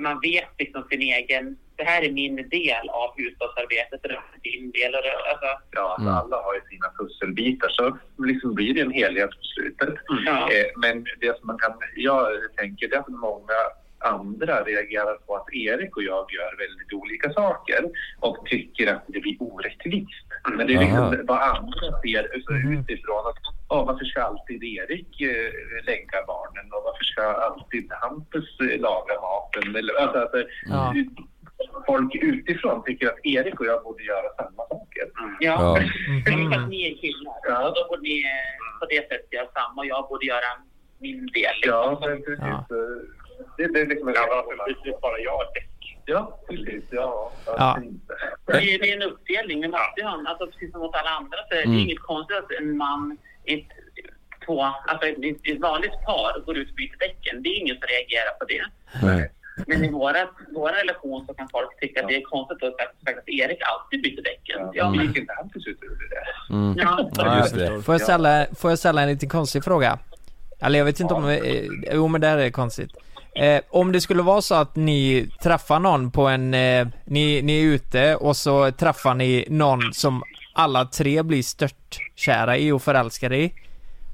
Speaker 10: man vet liksom sin egen... Det här är min del av hushållsarbetet, och det här är din del. Och det, alltså,
Speaker 8: Ja, alltså, alla har ju sina pusselbitar så liksom blir det en helhet på slutet.
Speaker 10: Mm. Ja.
Speaker 8: Eh, Men det som man kan, jag tänker det är att många andra reagerar på att Erik och jag gör väldigt olika saker och tycker att det blir orättvist. Men det är
Speaker 13: Aha.
Speaker 8: liksom vad andra ser så utifrån att "Ja, varför ska alltid Erik eh, länka barnen och varför ska alltid Hampus eh, laga maten? Eller, alltså, att, eh,
Speaker 6: Ja.
Speaker 8: Folk utifrån tycker att Erik och jag borde göra samma saker.
Speaker 10: Ja. Mm.
Speaker 6: Mm-hmm.
Speaker 10: För att ni är killar. Ja. Då borde ni eh, på det sättet göra samma och jag borde göra min del.
Speaker 8: Ja, men precis. Det, det är liksom en ja, precis bara jag däck. Ja, precis. Ja.
Speaker 6: Ja.
Speaker 10: Det, är- det är en uppdelning. Vi måste ju ha en, alltså, precis som åt alla andra så är det
Speaker 6: Mm.
Speaker 10: inget konstigt att en man i ett, två, alltså, i ett- i ett vanligt par går ut och byter däcken. Det är ingen som reagerar på det. Men i våra, våra relation så kan folk tycka att det är konstigt att, att, att Erik alltid byter däcken. Ja, men
Speaker 8: gick inte han till slut och gjorde det?
Speaker 10: Ja.
Speaker 6: Ja,
Speaker 4: Mm. just
Speaker 6: jag
Speaker 4: det.
Speaker 6: förstår. Får jag ställa, får jag ställa en lite konstig fråga? Eller jag vet inte om det är, eh, jo men det här är konstigt. Eh, om det skulle vara så att ni träffar någon på en, eh, ni, ni är ute och så träffar ni någon som alla tre blir stört kära i och förälskade i.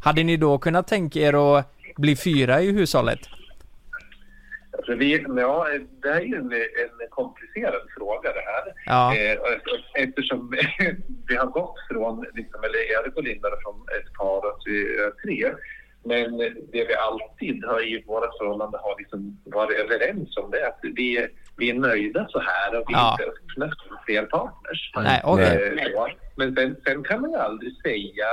Speaker 6: Hade ni då kunnat tänka er att bli fyra i hushållet?
Speaker 8: Alltså vi, ja, det här är ju en, en komplicerad fråga det här.
Speaker 6: Ja.
Speaker 8: Eh, och eftersom vi har gått från, liksom, eller Erik och Linda är från ett par och att vi är tre. Men det vi alltid har i våra förhållanden har liksom varit överens om det är att vi, vi är nöjda så här och vi är
Speaker 6: Ja.
Speaker 8: inte öppna för fler partners.
Speaker 6: Nej, okej.
Speaker 8: Eh, ja. Men sen, sen kan man ju aldrig säga,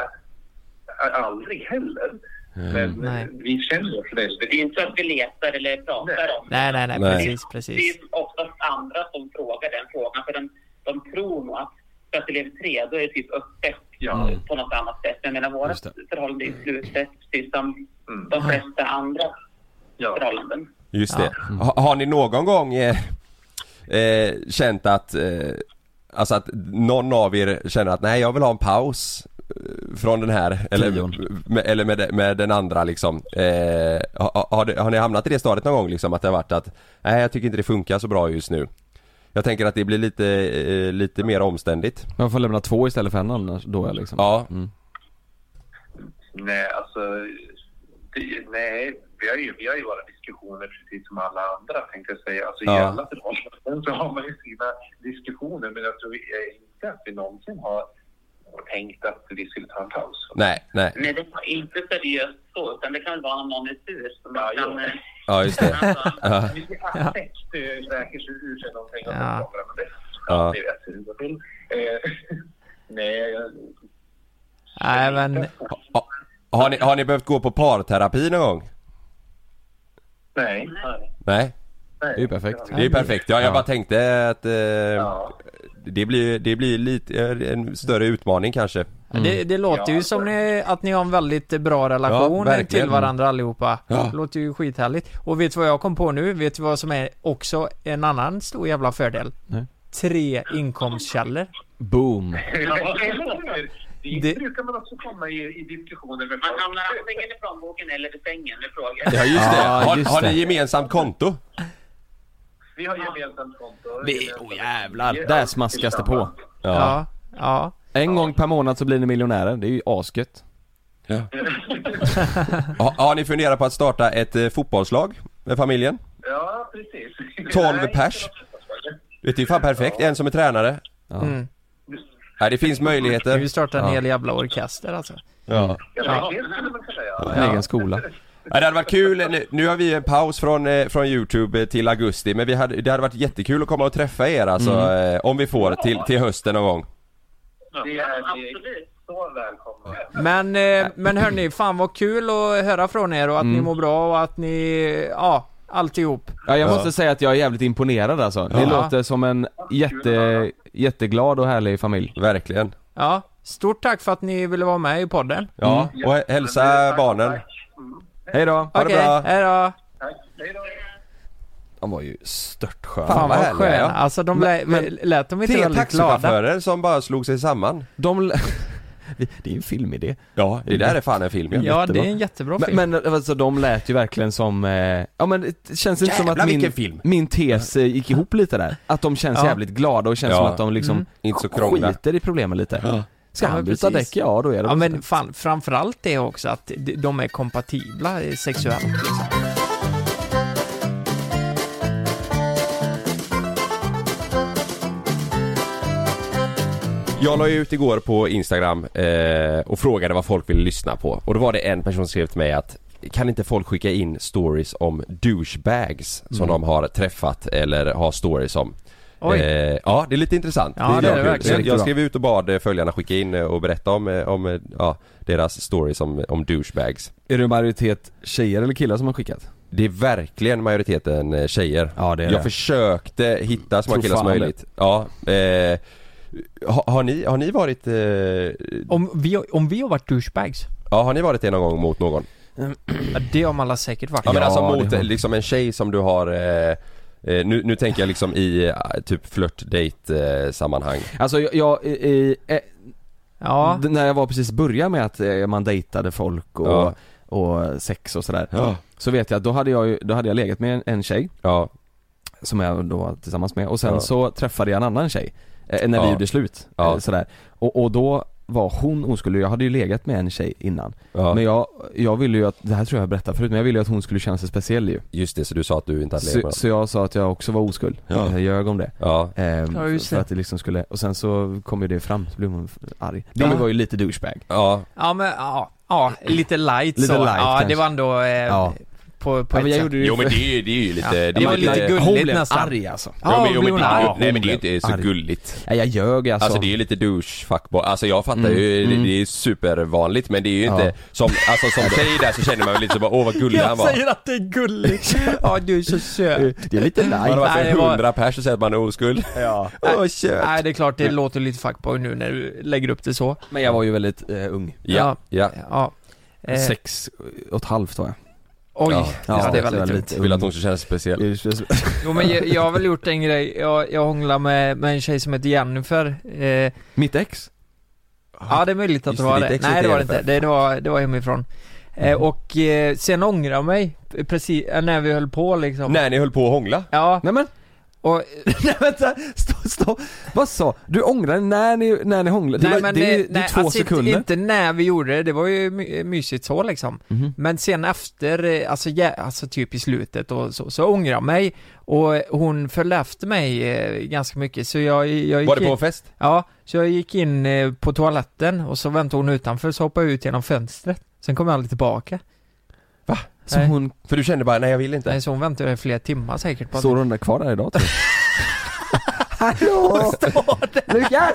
Speaker 8: aldrig heller. Men
Speaker 6: Mm. Nej.
Speaker 8: vi känner oss väldigt...
Speaker 10: Det är inte så att vi letar eller pratar om det.
Speaker 6: Nej, nej, nej,
Speaker 8: Nej.
Speaker 6: precis, precis.
Speaker 10: Det är oftast andra som frågar den frågan för de, de tror nog att för att elev 3 då är det typ öppet
Speaker 8: Ja.
Speaker 10: på något annat sätt. Men medan våra
Speaker 8: Just
Speaker 10: förhållande är slutet precis som de flesta andra förhållanden.
Speaker 4: Just det. Ha, har ni någon gång eh, eh, känt att, eh, alltså att någon av er känner att nej jag vill ha en paus eh, från den här eller, med, eller med, med den andra liksom. Eh, har, har, det- har ni hamnat i det stadiet någon gång liksom att det har varit att nej jag tycker inte det funkar så bra just nu. Jag tänker att det blir lite, eh, lite mer omständigt.
Speaker 5: Man får lämna två istället för en annars då jag liksom.
Speaker 4: Ja.
Speaker 8: Nej, alltså... Det, nej, vi har, ju, vi har ju våra diskussioner precis som alla andra tänkte jag säga. Alltså, I
Speaker 4: Ja.
Speaker 8: alla förhållanden så har man ju sina diskussioner men jag tror eh, inte att vi någonsin har tänkt att vi skulle ta en paus.
Speaker 4: Nej, nej.
Speaker 10: Nej, det var inte seriöst så utan det kan väl vara om någon är sur. Som ja, kan, eh,
Speaker 4: Ja just det. Ja.
Speaker 8: Vi affekt eh, läker sig ur sig någonting och så
Speaker 4: Ja.
Speaker 8: kommer man det.
Speaker 4: Ja.
Speaker 8: Ni vet hur det går till. Eh, nej, jag-
Speaker 6: Nej men,
Speaker 4: Ha- Har ni, har ni behövt gå på parterapi någon gång?
Speaker 8: nej.
Speaker 4: Nej?
Speaker 8: Det är ju perfekt.
Speaker 4: Det är ju perfekt. Ja, jag
Speaker 5: Ja.
Speaker 4: bara tänkte att eh, det, blir, det blir lite eh, en större utmaning kanske.
Speaker 6: Det, det låter ju som ni, att ni har en väldigt bra relation
Speaker 4: Ja, verkligen.
Speaker 6: till varandra allihopa.
Speaker 4: Ja.
Speaker 6: Det låter ju skithärligt. Och vet du vad jag kom på nu? Vet du vad som är också en annan stor jävla fördel?
Speaker 5: Nej.
Speaker 6: Tre inkomstkällor.
Speaker 5: Boom.
Speaker 8: Det,
Speaker 6: Det-
Speaker 8: brukar man också komma i, i diskussioner med
Speaker 10: man hamnar antingen i plånboken eller i sängen med frågor.
Speaker 4: Ja just det.
Speaker 5: Ja,
Speaker 4: har,
Speaker 5: just
Speaker 4: har ni
Speaker 5: det.
Speaker 4: gemensamt konto?
Speaker 8: Vi har gemensamt konto.
Speaker 5: Vi, oh jävlar, där smaskas det på.
Speaker 6: Ja. ja.
Speaker 5: En gång per månad så blir ni miljonärer, det är ju asgött.
Speaker 4: Ja. Ha, har ni funderat på att starta ett eh, fotbollslag med familjen?
Speaker 8: Ja, precis.
Speaker 4: 12 pers. Det är ju fan perfekt. En som är tränare.
Speaker 6: Mm.
Speaker 4: Nej, det finns möjligheter.
Speaker 6: Vi startar en
Speaker 4: Ja.
Speaker 6: hel jävla orkester alltså.
Speaker 4: Ja.
Speaker 6: Ja.
Speaker 4: En egen
Speaker 5: skola.
Speaker 4: Ja, det hade varit kul, nu, nu har vi en paus från, eh, från Youtube eh, till augusti men vi hade, det hade varit jättekul att komma och träffa er alltså,
Speaker 5: Mm.
Speaker 4: eh, om vi får, till, till hösten någon gång.
Speaker 8: Det är absolut så välkomna.
Speaker 6: Men, eh, men hörni, fan vad kul att höra från er och att ni mår bra och att ni, ja, alltihop.
Speaker 5: Ja, jag måste säga att jag är jävligt imponerad alltså. Det
Speaker 6: Ja.
Speaker 5: låter som en jätte, jätteglad och härlig familj.
Speaker 4: Verkligen.
Speaker 6: Ja, stort tack för att ni ville vara med i podden.
Speaker 4: Ja,
Speaker 8: Mm.
Speaker 4: och hä- hälsa barnen.
Speaker 5: Hej då. Ha
Speaker 6: Okej, hej då.
Speaker 4: De var ju störtsköna.
Speaker 6: Fan, vad
Speaker 4: härliga,
Speaker 6: sköna. Alltså, de lä- lät de inte
Speaker 4: Tre
Speaker 6: väldigt glada?
Speaker 4: taxichaufförer som bara slog sig samman.
Speaker 5: De... Det är ju en filmidé.
Speaker 4: Ja, det där är fan en film.
Speaker 6: Ja, det är en jättebra film.
Speaker 5: Men, men alltså, de lät ju verkligen som, eh, ja men det känns inte som
Speaker 4: Jävlar,
Speaker 5: att min,
Speaker 4: vilken film.
Speaker 5: min tes eh, gick ihop lite där. Att de känns
Speaker 4: Ja.
Speaker 5: jävligt glada och känns
Speaker 4: Ja.
Speaker 5: som att de liksom
Speaker 4: Mm. Inte så krångliga.
Speaker 5: skiter i problemen lite. Ska
Speaker 6: Ja,
Speaker 5: han
Speaker 6: men
Speaker 5: byta
Speaker 6: precis.
Speaker 5: däck? Ja, då är det
Speaker 6: Ja
Speaker 5: väl
Speaker 6: men fan, framförallt det också att de- de är kompatibla eh, sexuellt liksom.
Speaker 4: Jag la ju ut igår på Instagram eh, och frågade vad folk ville lyssna på och då var det en person som skrev till mig att kan inte folk skicka in stories om douchebags som
Speaker 6: Mm.
Speaker 4: de har träffat eller har stories om?
Speaker 6: Oj.
Speaker 4: Eh, ja, det är lite intressant.
Speaker 6: Ja, det är det
Speaker 4: kul.
Speaker 6: verkligen.
Speaker 4: Så jag- Jag skrev ut och bad eh, följarna skicka in eh, och berätta om, eh, om eh, ja, deras stories om, om douchebags.
Speaker 5: Är det en majoritet tjejer eller killar som har skickat?
Speaker 4: Det är verkligen majoriteten eh, tjejer.
Speaker 5: Ja, det är
Speaker 4: jag
Speaker 5: det.
Speaker 4: försökte hitta så många
Speaker 5: Tror
Speaker 4: killar som
Speaker 5: fan det.
Speaker 4: möjligt. Ja, eh, har, har, ni, har ni varit... Eh,
Speaker 6: Om vi, har- om vi har varit douchebags?
Speaker 4: Ja, har ni varit det någon gång mot någon?
Speaker 6: Ja, det har man alla säkert varit.
Speaker 4: Ja men alltså
Speaker 6: det
Speaker 4: mot
Speaker 6: har-
Speaker 4: eh, liksom en tjej som du har eh, eh, nu, nu tänker jag liksom i eh, typ flört date eh, sammanhang
Speaker 5: Alltså jag, jag i, i, eh, d- när jag var precis började med att eh, man dejtade folk och,
Speaker 4: Ja.
Speaker 5: och sex och sådär.
Speaker 4: Ja.
Speaker 5: Så vet jag att då hade jag ju, då hade jag legat med en, en tjej. Som jag då var tillsammans med och sen
Speaker 4: Ja.
Speaker 5: så träffade jag en annan tjej. Eh, när vi
Speaker 4: Ja.
Speaker 5: gjorde slut.
Speaker 4: Ja.
Speaker 5: Eh, sådär. Och, och då var hon oskuld, jag hade ju legat med en tjej innan. Men jag, jag ville ju att, det här tror jag jag berättade förut, men jag ville ju att hon skulle känna sig speciell ju.
Speaker 4: Just det, så du sa att du inte hade legat
Speaker 5: Så,
Speaker 4: med
Speaker 5: så jag sa att jag också var oskuld,
Speaker 4: Ja.
Speaker 5: jag ljög om det.
Speaker 4: Ja.
Speaker 5: Ehm,
Speaker 6: Ja, just
Speaker 5: för
Speaker 6: det.
Speaker 5: att det liksom skulle, och sen så kom ju det fram, så blev hon f- arg. Det
Speaker 6: Ja.
Speaker 5: var ju lite douchebag.
Speaker 4: Ja.
Speaker 6: Ja men, ja. Ja, lite light
Speaker 5: Lite
Speaker 6: så.
Speaker 5: light,
Speaker 6: ja,
Speaker 5: kanske.
Speaker 6: det var ändå... Eh,
Speaker 5: Ja.
Speaker 6: På, på
Speaker 5: Ja, men jag
Speaker 6: ett sätt.
Speaker 5: gjorde det ju Jo, för- men det är-
Speaker 4: det är ju lite-
Speaker 6: Ja,
Speaker 4: det är
Speaker 6: det var
Speaker 4: ju
Speaker 6: lite
Speaker 4: lite-
Speaker 5: Hon
Speaker 6: gulligt
Speaker 5: blev
Speaker 6: nästan.
Speaker 5: arg, alltså.
Speaker 6: Ja,
Speaker 4: Jo, men- jo,
Speaker 6: blev
Speaker 4: men
Speaker 6: hon
Speaker 4: det-
Speaker 6: arg?
Speaker 4: nej, men det är ju inte så gulligt.
Speaker 5: Ja, jag ljög alltså.
Speaker 4: Alltså, det är ju lite douche fuckboy, alltså jag fattar
Speaker 5: Mm,
Speaker 4: ju, det,
Speaker 5: mm.
Speaker 4: det är supervanligt men det är ju inte
Speaker 5: Ja.
Speaker 4: som, alltså som tjej där så känner man väl lite så bara åh vad gullig han
Speaker 6: Jag
Speaker 4: var
Speaker 6: säger att det är gulligt. Ja, du är så söt.
Speaker 5: Det är lite
Speaker 4: Man har
Speaker 5: light.
Speaker 4: varit
Speaker 6: Nej,
Speaker 4: för
Speaker 6: det var-
Speaker 4: 100 pers och säger att man är oskuld
Speaker 5: Ja.
Speaker 4: Åh kött.
Speaker 6: Nej, det är klart det låter lite fuckboy nu när du lägger upp det så.
Speaker 5: Men jag var ju väldigt eh, ung.
Speaker 4: Ja, ja.
Speaker 6: Ja. Eh,
Speaker 5: Sex och ett halvt var jag.
Speaker 6: Oj,
Speaker 5: Ja,
Speaker 6: ja,
Speaker 5: ja,
Speaker 6: det
Speaker 5: det
Speaker 6: är
Speaker 5: var
Speaker 6: väldigt tungt.
Speaker 5: lite-
Speaker 4: Vill att hon ska känna sig speciell
Speaker 6: Jo men jag, jag har väl gjort en grej, jag, jag hånglade med, med en tjej som heter Jennifer eh,
Speaker 5: Mitt ex?
Speaker 6: Ja det är möjligt att
Speaker 5: Just
Speaker 6: det
Speaker 5: det, Mm.
Speaker 6: var
Speaker 5: ditt
Speaker 6: det,
Speaker 5: ex
Speaker 6: nej
Speaker 5: heter
Speaker 6: det var det
Speaker 5: Jennifer.
Speaker 6: inte, det, det, var, det var hemifrån eh, Och eh, sen ångrade jag mig, eh, precis, eh, när vi höll på liksom
Speaker 4: När ni höll på att hångla?
Speaker 6: Ja
Speaker 5: Nej men
Speaker 6: och,
Speaker 5: Nej vänta, stopp, stopp. Vad sa du? ångrade när ni, när ni hånglade? Det,
Speaker 6: nej,
Speaker 5: var-
Speaker 6: men,
Speaker 5: det, är
Speaker 6: eh,
Speaker 5: ju- det är
Speaker 6: nej,
Speaker 5: två
Speaker 6: alltså inte-
Speaker 5: sekunder.
Speaker 6: Inte när vi gjorde det, det var ju my- mysigt så liksom
Speaker 5: Mhm.
Speaker 6: Men sen efter, eh, alltså, ja, alltså typ i slutet och så, så ångrade jag mig Och eh, hon följde efter mig eh, ganska mycket så jag, jag gick
Speaker 4: Var det på
Speaker 6: in-
Speaker 4: en fest?
Speaker 6: Ja, så jag gick in eh, på toaletten och så väntade hon utanför, så hoppade jag ut genom fönstret. Sen kom jag aldrig tillbaka.
Speaker 4: Va?
Speaker 5: Så
Speaker 6: Nej.
Speaker 5: hon,
Speaker 4: För du kände bara, nej jag vill inte
Speaker 6: Nej, så hon väntade i flera timmar säkert. På
Speaker 5: står hon där kvar där idag tror Hallå! Lukas!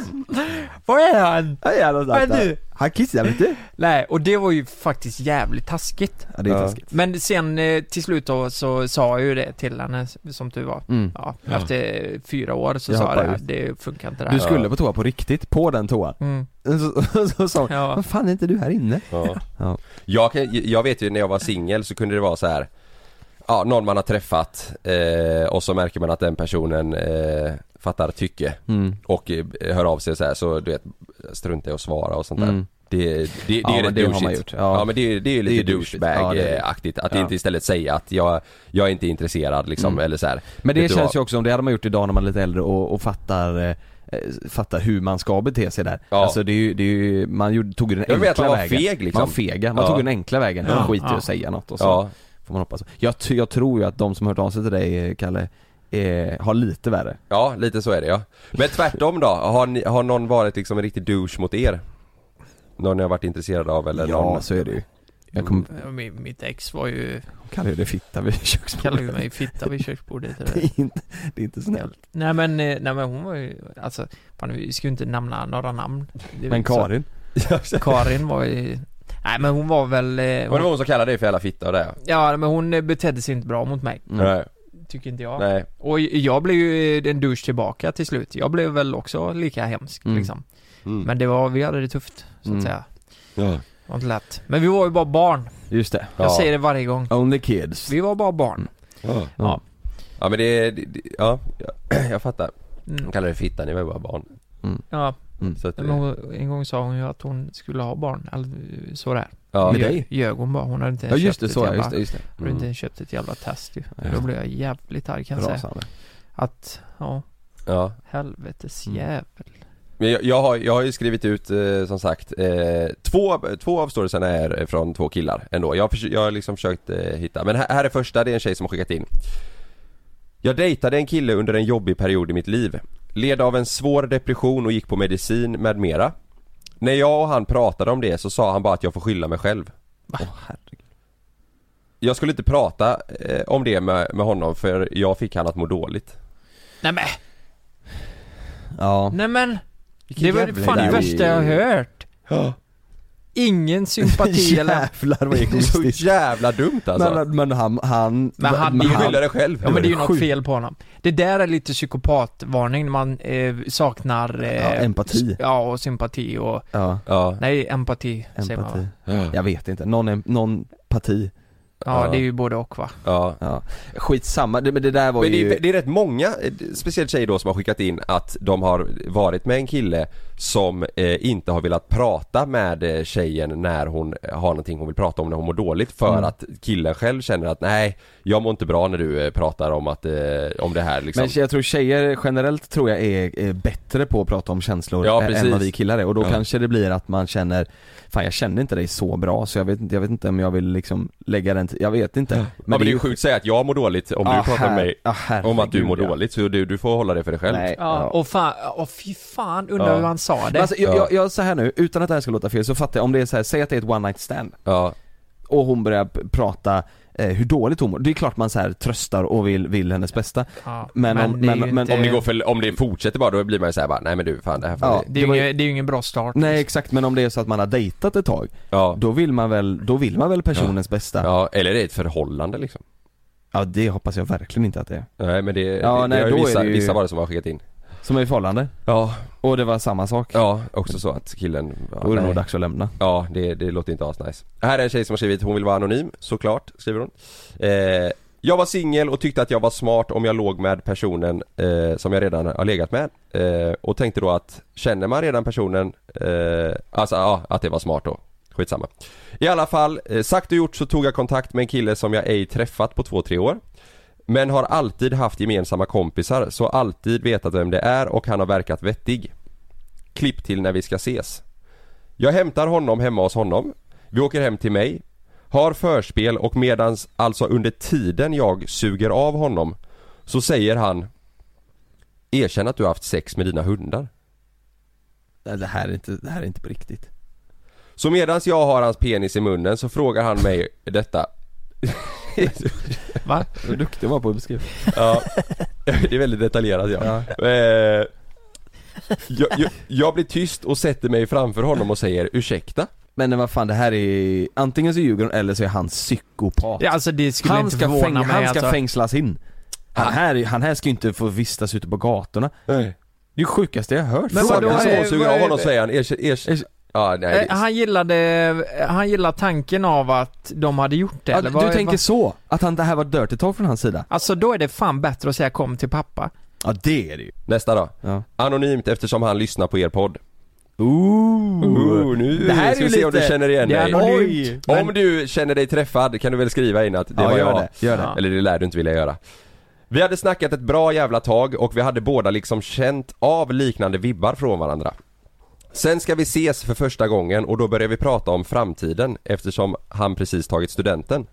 Speaker 6: Var är han?
Speaker 5: Hej alla
Speaker 6: Vad är du?
Speaker 5: Han kissar inte?
Speaker 6: Nej, och det var ju faktiskt jävligt taskigt.
Speaker 5: Ja det är taskigt.
Speaker 6: Men sen eh, till slut då så sa jag ju det till henne, som du var.
Speaker 5: Mm.
Speaker 6: Ja,
Speaker 5: Ja.
Speaker 6: efter fyra år så
Speaker 5: Jag
Speaker 6: sa jag
Speaker 5: hoppar
Speaker 6: det, här,
Speaker 5: ut.
Speaker 6: det funkar inte det här.
Speaker 5: Du skulle på toa på riktigt, på den toan.
Speaker 6: Mm.
Speaker 5: Så, så sa hon,
Speaker 6: Ja.
Speaker 5: vad fan är inte du här inne?
Speaker 4: Ja.
Speaker 5: Ja.
Speaker 4: Jag, kan, jag vet ju när jag var singel så kunde det vara så här. Ja, någon man har träffat eh, och så märker man att den personen eh, fattar tycke
Speaker 5: Mm.
Speaker 4: och eh, hör av sig så här så du vet struntar i att svara och sånt där.
Speaker 5: Mm.
Speaker 4: Det, det, det
Speaker 5: Ja,
Speaker 4: är ju
Speaker 5: men
Speaker 4: rätt
Speaker 5: det har man
Speaker 4: douchigt.
Speaker 5: gjort. Ja.
Speaker 4: Ja. men det, är- det är ju
Speaker 5: Det är
Speaker 4: lite
Speaker 5: ju douchigt. Ja, det är det.
Speaker 4: douchebag-aktigt. att
Speaker 5: Ja.
Speaker 4: inte istället säga att jag, jag är inte intresserad liksom eller så här.
Speaker 5: Mm. Men
Speaker 4: Vet
Speaker 5: det
Speaker 4: du
Speaker 5: känns
Speaker 4: vad?
Speaker 5: ju också, om det hade man gjort idag när man är lite äldre och, och fattar eh, eh, fattar hur man ska bete sig där.
Speaker 4: Ja.
Speaker 5: Alltså det är ju, det är ju man gjorde, tog ju den
Speaker 4: Jag vet,
Speaker 5: enkla
Speaker 4: man var
Speaker 5: vägen.
Speaker 4: feg, liksom.
Speaker 5: Man var fega, man
Speaker 4: Ja.
Speaker 5: tog ju den enkla vägen,
Speaker 4: Ja.
Speaker 5: man skiter i
Speaker 4: Ja.
Speaker 5: att säga något och så
Speaker 4: Ja.
Speaker 5: får man hoppas. Jag, ty- jag tror ju att de som hört av sig till dig eh, Kalle eh, har lite värre.
Speaker 8: Ja, lite så är det ja. Men tvärtom då, har, ni, har någon varit liksom en riktig douche mot er? Någon ni har varit intresserad av eller
Speaker 5: Ja, alltså,
Speaker 8: någon?
Speaker 5: så är det ju. Jag kommer,
Speaker 6: Ja, mi- Mitt ex var ju,
Speaker 5: kallar det fitta vid köksbordet.
Speaker 6: kallade ju mig fitta vid köksbordet
Speaker 5: det, är inte, det är inte snällt.
Speaker 6: Nej men, eh, nej men hon var ju, alltså, fan, vi ska ju inte nämna några namn Det är
Speaker 5: Men
Speaker 6: väl så.
Speaker 5: Karin?
Speaker 6: Karin var ju, nej men hon var väl eh,
Speaker 8: Var det hon som kallade dig för jävla fitta och det?
Speaker 6: Ja men hon eh, betedde sig inte bra mot mig
Speaker 5: Mm.
Speaker 8: Nej.
Speaker 6: Tycker inte jag
Speaker 8: Nej.
Speaker 6: Och jag blev ju eh, en douche tillbaka till slut Jag blev väl också lika hemsk
Speaker 8: Mm.
Speaker 6: liksom
Speaker 8: Mm.
Speaker 6: Men det var, vi hade det tufft så att
Speaker 8: Mm.
Speaker 6: säga
Speaker 8: Ja.
Speaker 6: Det var inte lätt Men vi var ju bara barn
Speaker 5: Just det.
Speaker 6: Jag säger det varje gång
Speaker 5: Only kids.
Speaker 6: Vi var bara
Speaker 8: Mm.
Speaker 6: barn
Speaker 8: Ja.
Speaker 6: Ja.
Speaker 8: Ja men det, det det- ja, jag, jag fattar.
Speaker 6: Mm.
Speaker 8: Hon kallar det fitta, ni var ju bara barn.
Speaker 6: Ja
Speaker 8: Så att,
Speaker 6: Men hon, en gång sa hon ju att hon skulle ha barn, eller sådär
Speaker 8: Ja.
Speaker 6: Men
Speaker 8: Med
Speaker 6: det
Speaker 8: dig?
Speaker 6: Ljög hon bara, hon hade inte
Speaker 8: Ja, just
Speaker 6: köpt
Speaker 8: det,
Speaker 6: ett
Speaker 8: så ja,
Speaker 6: jävla,
Speaker 8: just det, just det.
Speaker 6: Hon hade
Speaker 8: Mm.
Speaker 6: inte köpt ett jävla test ju
Speaker 8: Ja.
Speaker 6: Då blev jag jävligt arg kan jag säga
Speaker 8: Rasande.
Speaker 6: Att, ja
Speaker 8: Ja.
Speaker 6: Helvetes
Speaker 8: Mm.
Speaker 6: jävel
Speaker 8: Men jag, jag, har, jag har ju skrivit ut eh, som sagt eh, två, två av storiesarna är från två killar ändå. Jag har, försö- jag har liksom försökt eh, hitta, men här, här är första, det är en tjej som har skickat in. Jag dejtade en kille under en jobbig period i mitt liv. Led av en svår depression och gick på medicin med mera. När jag och han pratade om det så sa han bara att jag får skylla mig själv. Jag skulle inte prata eh, om det med, med honom för jag fick han att må dåligt.
Speaker 6: Nej men,
Speaker 5: Ja.
Speaker 6: nej men Det var
Speaker 5: jävla
Speaker 6: fan det
Speaker 5: idé.
Speaker 6: värsta jag har hört
Speaker 5: Ja.
Speaker 6: Ingen sympati eller
Speaker 5: Jävlar vad
Speaker 8: Så
Speaker 5: egoistiskt.
Speaker 8: jävla dumt alltså.
Speaker 5: Men, men han, han...
Speaker 6: Men han,
Speaker 8: men han- skyller dig själv.
Speaker 6: Ja men det är ju något
Speaker 5: Sjukt.
Speaker 6: fel på honom. Det där är lite psykopatvarning när man eh, saknar... Eh,
Speaker 5: Ja, empati.
Speaker 6: s- Ja, och sympati och...
Speaker 5: Ja.
Speaker 6: Nej, empati, säger man
Speaker 5: Empati.
Speaker 6: va?
Speaker 5: Jag vet inte, någon, em- någon parti.
Speaker 6: Ja, det är ju både och va?
Speaker 8: Ja.
Speaker 5: ja. Skitsamma, det, men det där var
Speaker 8: Men det,
Speaker 5: ju...
Speaker 8: är, det är rätt många, eh, speciellt tjejer då som har skickat in att de har varit med en kille som eh, inte har velat prata med eh, tjejen när hon eh, har någonting hon vill prata om när hon mår dåligt för
Speaker 5: Mm.
Speaker 8: att killen själv känner att nej, jag mår inte bra när du eh, pratar om att, eh, om det här liksom.
Speaker 5: Men jag tror tjejer generellt tror jag är, är bättre på att prata om känslor
Speaker 8: Ja,
Speaker 5: ä-
Speaker 8: precis.
Speaker 5: än vad vi killar är och då
Speaker 8: Ja.
Speaker 5: kanske det blir att man känner Fan jag känner inte dig så bra så jag vet inte, jag vet inte om jag vill liksom lägga den till, jag vet inte Men,
Speaker 8: ja, men det är ju sjukt att säga att jag mår dåligt om
Speaker 5: Ah,
Speaker 8: du pratar med
Speaker 5: her-
Speaker 8: mig
Speaker 5: ah,
Speaker 8: om att du
Speaker 5: herregud,
Speaker 8: mår
Speaker 5: ja.
Speaker 8: dåligt så du, du får hålla det för dig själv.
Speaker 5: Nej,
Speaker 6: Ja, och fan, och fy fan undrar
Speaker 5: Ja.
Speaker 6: hur han sa
Speaker 5: Men
Speaker 6: det.
Speaker 5: alltså, jag, jag, jag, så här nu, utan att det här ska låta fel så fattar jag om det är så här, säg att det är ett one night stand Och hon börjar p- prata eh, hur dåligt hon mår, det är klart man så här tröstar och vill, vill hennes bästa
Speaker 6: Ja,
Speaker 5: Men,
Speaker 6: men
Speaker 5: om,
Speaker 6: det är
Speaker 5: men,
Speaker 6: ju
Speaker 5: men
Speaker 6: inte-
Speaker 8: Om, det går för, om det fortsätter bara då blir man ju såhär bara, nej men du fan det här får
Speaker 5: Ja,
Speaker 8: vi-
Speaker 6: det, är ju ingen, det är ju ingen bra start.
Speaker 5: Nej exakt, men om det är så att man har dejtat ett tag Då vill man väl, då vill man väl personens bästa
Speaker 8: Ja, eller det är ett förhållande liksom.
Speaker 5: Ja det hoppas jag verkligen inte att det är
Speaker 8: Nej men det,
Speaker 5: Ja,
Speaker 8: det,
Speaker 5: nej,
Speaker 8: det har
Speaker 5: då
Speaker 8: ju
Speaker 5: är
Speaker 8: vissa,
Speaker 5: det ju-
Speaker 8: vissa bara som har skickat in.
Speaker 5: Som är i förhållande?
Speaker 8: Ja
Speaker 5: Och det var samma sak?
Speaker 8: Ja, också så att killen... Ja,
Speaker 5: Då är det
Speaker 8: nej.
Speaker 5: nog dags att lämna
Speaker 8: Ja, det, det låter inte asnice. Här är en tjej som har skrivit, hon vill vara anonym, såklart, skriver hon. Eh, jag var singel och tyckte att jag var smart om jag låg med personen eh, som jag redan har legat med. Eh, och tänkte då att, känner man redan personen, eh, alltså ja, att det var smart då. Skitsamma. I alla fall, eh, sagt och gjort så tog jag kontakt med en kille som jag ej träffat på två, tre år. Men har alltid haft gemensamma kompisar, så alltid vetat vem det är och han har verkat vettig. Klipp till när vi ska ses. Jag hämtar honom hemma hos honom. Vi åker hem till mig. Har förspel och medans, alltså under tiden jag suger av honom, så säger han Erkänn att du har haft sex med dina hundar.
Speaker 5: Nej, det här är inte, det här är inte på riktigt
Speaker 8: Så medans jag har hans penis i munnen så frågar han mig detta.
Speaker 6: Va?
Speaker 5: Vad duktig var på att beskriva
Speaker 8: Ja, det är väldigt detaljerat ja. Eh, jag, jag, jag blir tyst och sätter mig framför honom och säger ursäkta.
Speaker 5: Men vad fan det här är, antingen så ljuger hon eller så är han psykopat
Speaker 6: Ja, alltså det skulle
Speaker 5: han
Speaker 6: inte
Speaker 5: ska
Speaker 6: förvåna mig,
Speaker 5: Han ska
Speaker 6: alltså.
Speaker 5: fängslas in han här, är- han här ska ju inte få vistas ute på gatorna Nej Det är det sjukaste jag har hört
Speaker 6: Men vadå,
Speaker 8: Frågar så hon
Speaker 6: eh,
Speaker 8: suger
Speaker 6: vad
Speaker 8: av
Speaker 6: är-
Speaker 8: honom säger han erkänn, erkänn. Ja, nej,
Speaker 6: Eh,
Speaker 8: det-
Speaker 6: Han gillade, eh, han gillade tanken av att de hade gjort det
Speaker 5: Ja,
Speaker 6: eller
Speaker 5: Du tänker så? Att han, det här var dirty talk från hans sida?
Speaker 6: Alltså då är det fan bättre att säga kom till pappa.
Speaker 5: Ja det är det ju
Speaker 8: Nästa då. Anonymt eftersom han lyssnar på er podd. Ooh, nu
Speaker 5: Oh. Det här är
Speaker 8: ska vi
Speaker 5: ju
Speaker 8: se om du
Speaker 5: lite-
Speaker 8: känner igen
Speaker 5: det är
Speaker 8: dig.
Speaker 5: anonymt,
Speaker 8: Oj.
Speaker 5: men-
Speaker 8: Om du känner dig träffad kan du väl skriva in att det
Speaker 5: Ja,
Speaker 8: var
Speaker 5: gör
Speaker 8: jag.
Speaker 5: det, gör det.
Speaker 8: Eller det lär du inte vilja göra. Vi hade snackat ett bra jävla tag och vi hade båda liksom känt av liknande vibbar från varandra. Sen ska vi ses för första gången och då börjar vi prata om framtiden eftersom han precis tagit studenten.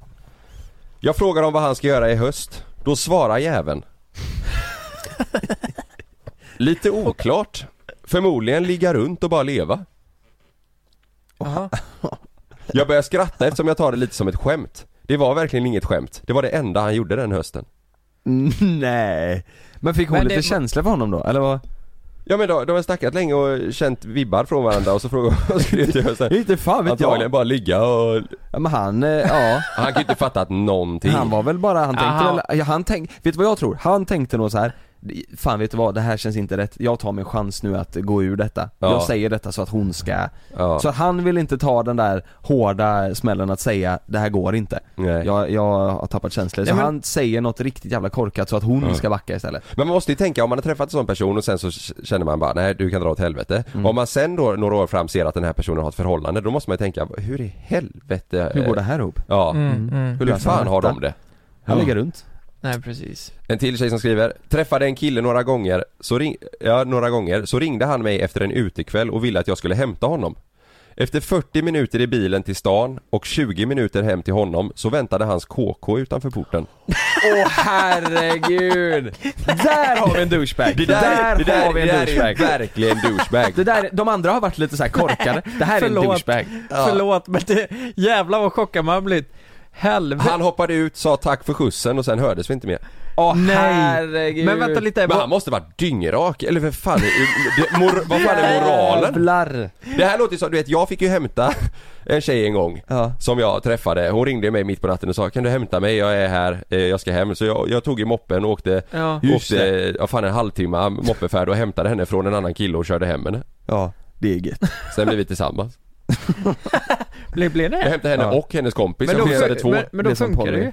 Speaker 8: Jag frågar om vad han ska göra i höst. Då svarar jäveln. Lite oklart. Förmodligen ligga runt och bara leva. Jag börjar skratta eftersom jag tar det lite som ett skämt. Det var verkligen inget skämt. Det var det enda han gjorde den hösten.
Speaker 5: Mm, Nej. Men fick hon
Speaker 8: Men det
Speaker 5: lite
Speaker 8: var-
Speaker 5: känsla för honom då, eller vad?
Speaker 8: Ja men då, de har snackat länge och känt vibbar från varandra och så frågade och skrev till hösten.
Speaker 5: Inte fan vet jag.
Speaker 8: Antagligen bara ligga och...
Speaker 5: Ja, men han, eh, ja.
Speaker 8: Han kan ju inte fattat någonting.
Speaker 5: Han var väl bara, han tänkte
Speaker 8: Aha.
Speaker 5: väl, ja, han tänk, vet du vad jag tror? Han tänkte nog så här. Fan vet du vad, det här känns inte rätt. Jag tar min chans nu att gå ur detta.
Speaker 8: Ja.
Speaker 5: Jag säger detta så att hon ska
Speaker 8: Ja.
Speaker 5: Så att han vill inte ta den där hårda smällen att säga det här går inte. Jag, jag har tappat känslor. Så
Speaker 8: Eh. Nej, men-
Speaker 5: han säger något riktigt jävla korkat så att hon
Speaker 8: Ja.
Speaker 5: ska backa istället.
Speaker 8: Men man måste ju tänka, om man har träffat en sån person och sen så k- känner man bara nej du kan dra åt helvete.
Speaker 5: Mm.
Speaker 8: Om man sen då några år fram ser att den här personen har ett förhållande, då måste man ju tänka hur i helvete
Speaker 5: Hur går
Speaker 8: eh,
Speaker 5: det här ihop?
Speaker 8: Ja,
Speaker 6: Mm, mm.
Speaker 8: hur fan har de det?
Speaker 5: Han lägger runt.
Speaker 6: Nej precis.
Speaker 8: En till tjej som skriver, träffade en kille några gånger, så ring- ja, några gånger, så ringde han mig efter en utekväll och ville att jag skulle hämta honom. Efter 40 minuter i bilen till stan och 20 minuter hem till honom så väntade hans KK utanför porten.
Speaker 5: Åh herregud! Där har vi en douchebag!
Speaker 8: Det där-
Speaker 5: där
Speaker 8: det där-
Speaker 5: har vi en
Speaker 8: det där är
Speaker 5: douchebag!
Speaker 8: verkligen douchebag.
Speaker 5: Det där, de andra har varit lite så här korkade, det här är en
Speaker 6: Förlåt.
Speaker 5: douchebag.
Speaker 6: Förlåt men det, jävlar vad chockad man har blivit. Helvete.
Speaker 8: Han hoppade ut, sa tack för skjutsen och sen hördes vi inte mer.
Speaker 5: Åh herregud.
Speaker 6: Men vänta lite,
Speaker 8: Men
Speaker 6: vad-
Speaker 8: han måste varit dyngrak, eller för fan, är- det, mor, vad fan är moralen?
Speaker 5: Jävlar.
Speaker 8: Det här låter ju som, du vet jag fick ju hämta en tjej en gång Som jag träffade, hon ringde mig mitt på natten och sa Kan du hämta mig? Jag är här, eh, jag ska hem Så jag, jag tog i moppen och åkte,
Speaker 6: Ja. Just
Speaker 8: åkte ja, fan en halvtimme ah, moppefärd och hämtade henne från en annan kille och körde hem henne
Speaker 5: Ja, det är gött
Speaker 8: Sen blev vi tillsammans
Speaker 6: Blev, blev det?
Speaker 8: Jag hämtade henne och hennes kompis,
Speaker 6: Men
Speaker 8: jag
Speaker 6: då-
Speaker 8: fixade liksom två
Speaker 6: men- men då Det är som funkar det poly. ju.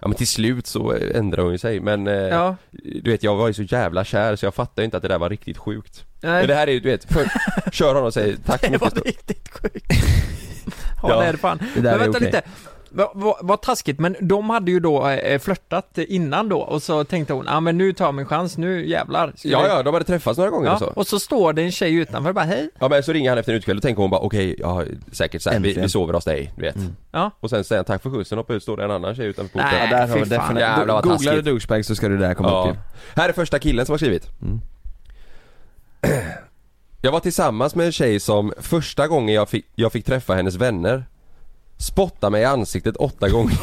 Speaker 8: Ja men till slut så eh, ändrade hon ju sig men eh,
Speaker 6: Ja.
Speaker 8: Du vet jag var ju så jävla kär så jag fattade inte att det där var riktigt sjukt
Speaker 6: Nej.
Speaker 8: Men det här är ju du vet, för, kör honom och säger tack så mycket Det var
Speaker 6: riktigt
Speaker 8: sjukt
Speaker 6: Ja, det är det fan.
Speaker 8: Det där
Speaker 6: men
Speaker 8: är
Speaker 6: vänta
Speaker 8: okej.
Speaker 6: lite. Vad va, vad taskigt, men de hade ju då eh, flörtat innan då och så tänkte hon, ja ah, men nu tar jag min chans, nu jävlar. Ska
Speaker 8: Ja
Speaker 6: vi-
Speaker 8: ja, de hade träffats några gånger
Speaker 6: Ja,
Speaker 8: och så
Speaker 6: och så står det en tjej utanför och bara hej.
Speaker 8: Ja men så ringer han efter en utekväll och tänker hon bara okej, ja säkert så här, vi,
Speaker 6: Äntligen. Mm.
Speaker 8: vi sover hos dig, du vet.
Speaker 6: Ja.
Speaker 8: Och sen säger han tack för skjutsen, hoppar ut, står det en annan tjej utanför porten.
Speaker 5: Nej, Ja, där har fy vi fan. definitivt-
Speaker 8: Jävlar vad
Speaker 5: Googlar
Speaker 8: taskigt.
Speaker 5: du douchebag så ska det där komma upp ju.
Speaker 8: Här är första killen som har skrivit.
Speaker 5: Mm.
Speaker 8: Jag var tillsammans med en tjej som första gången jag fick, jag fick träffa hennes vänner spottade mig i ansiktet åtta gånger.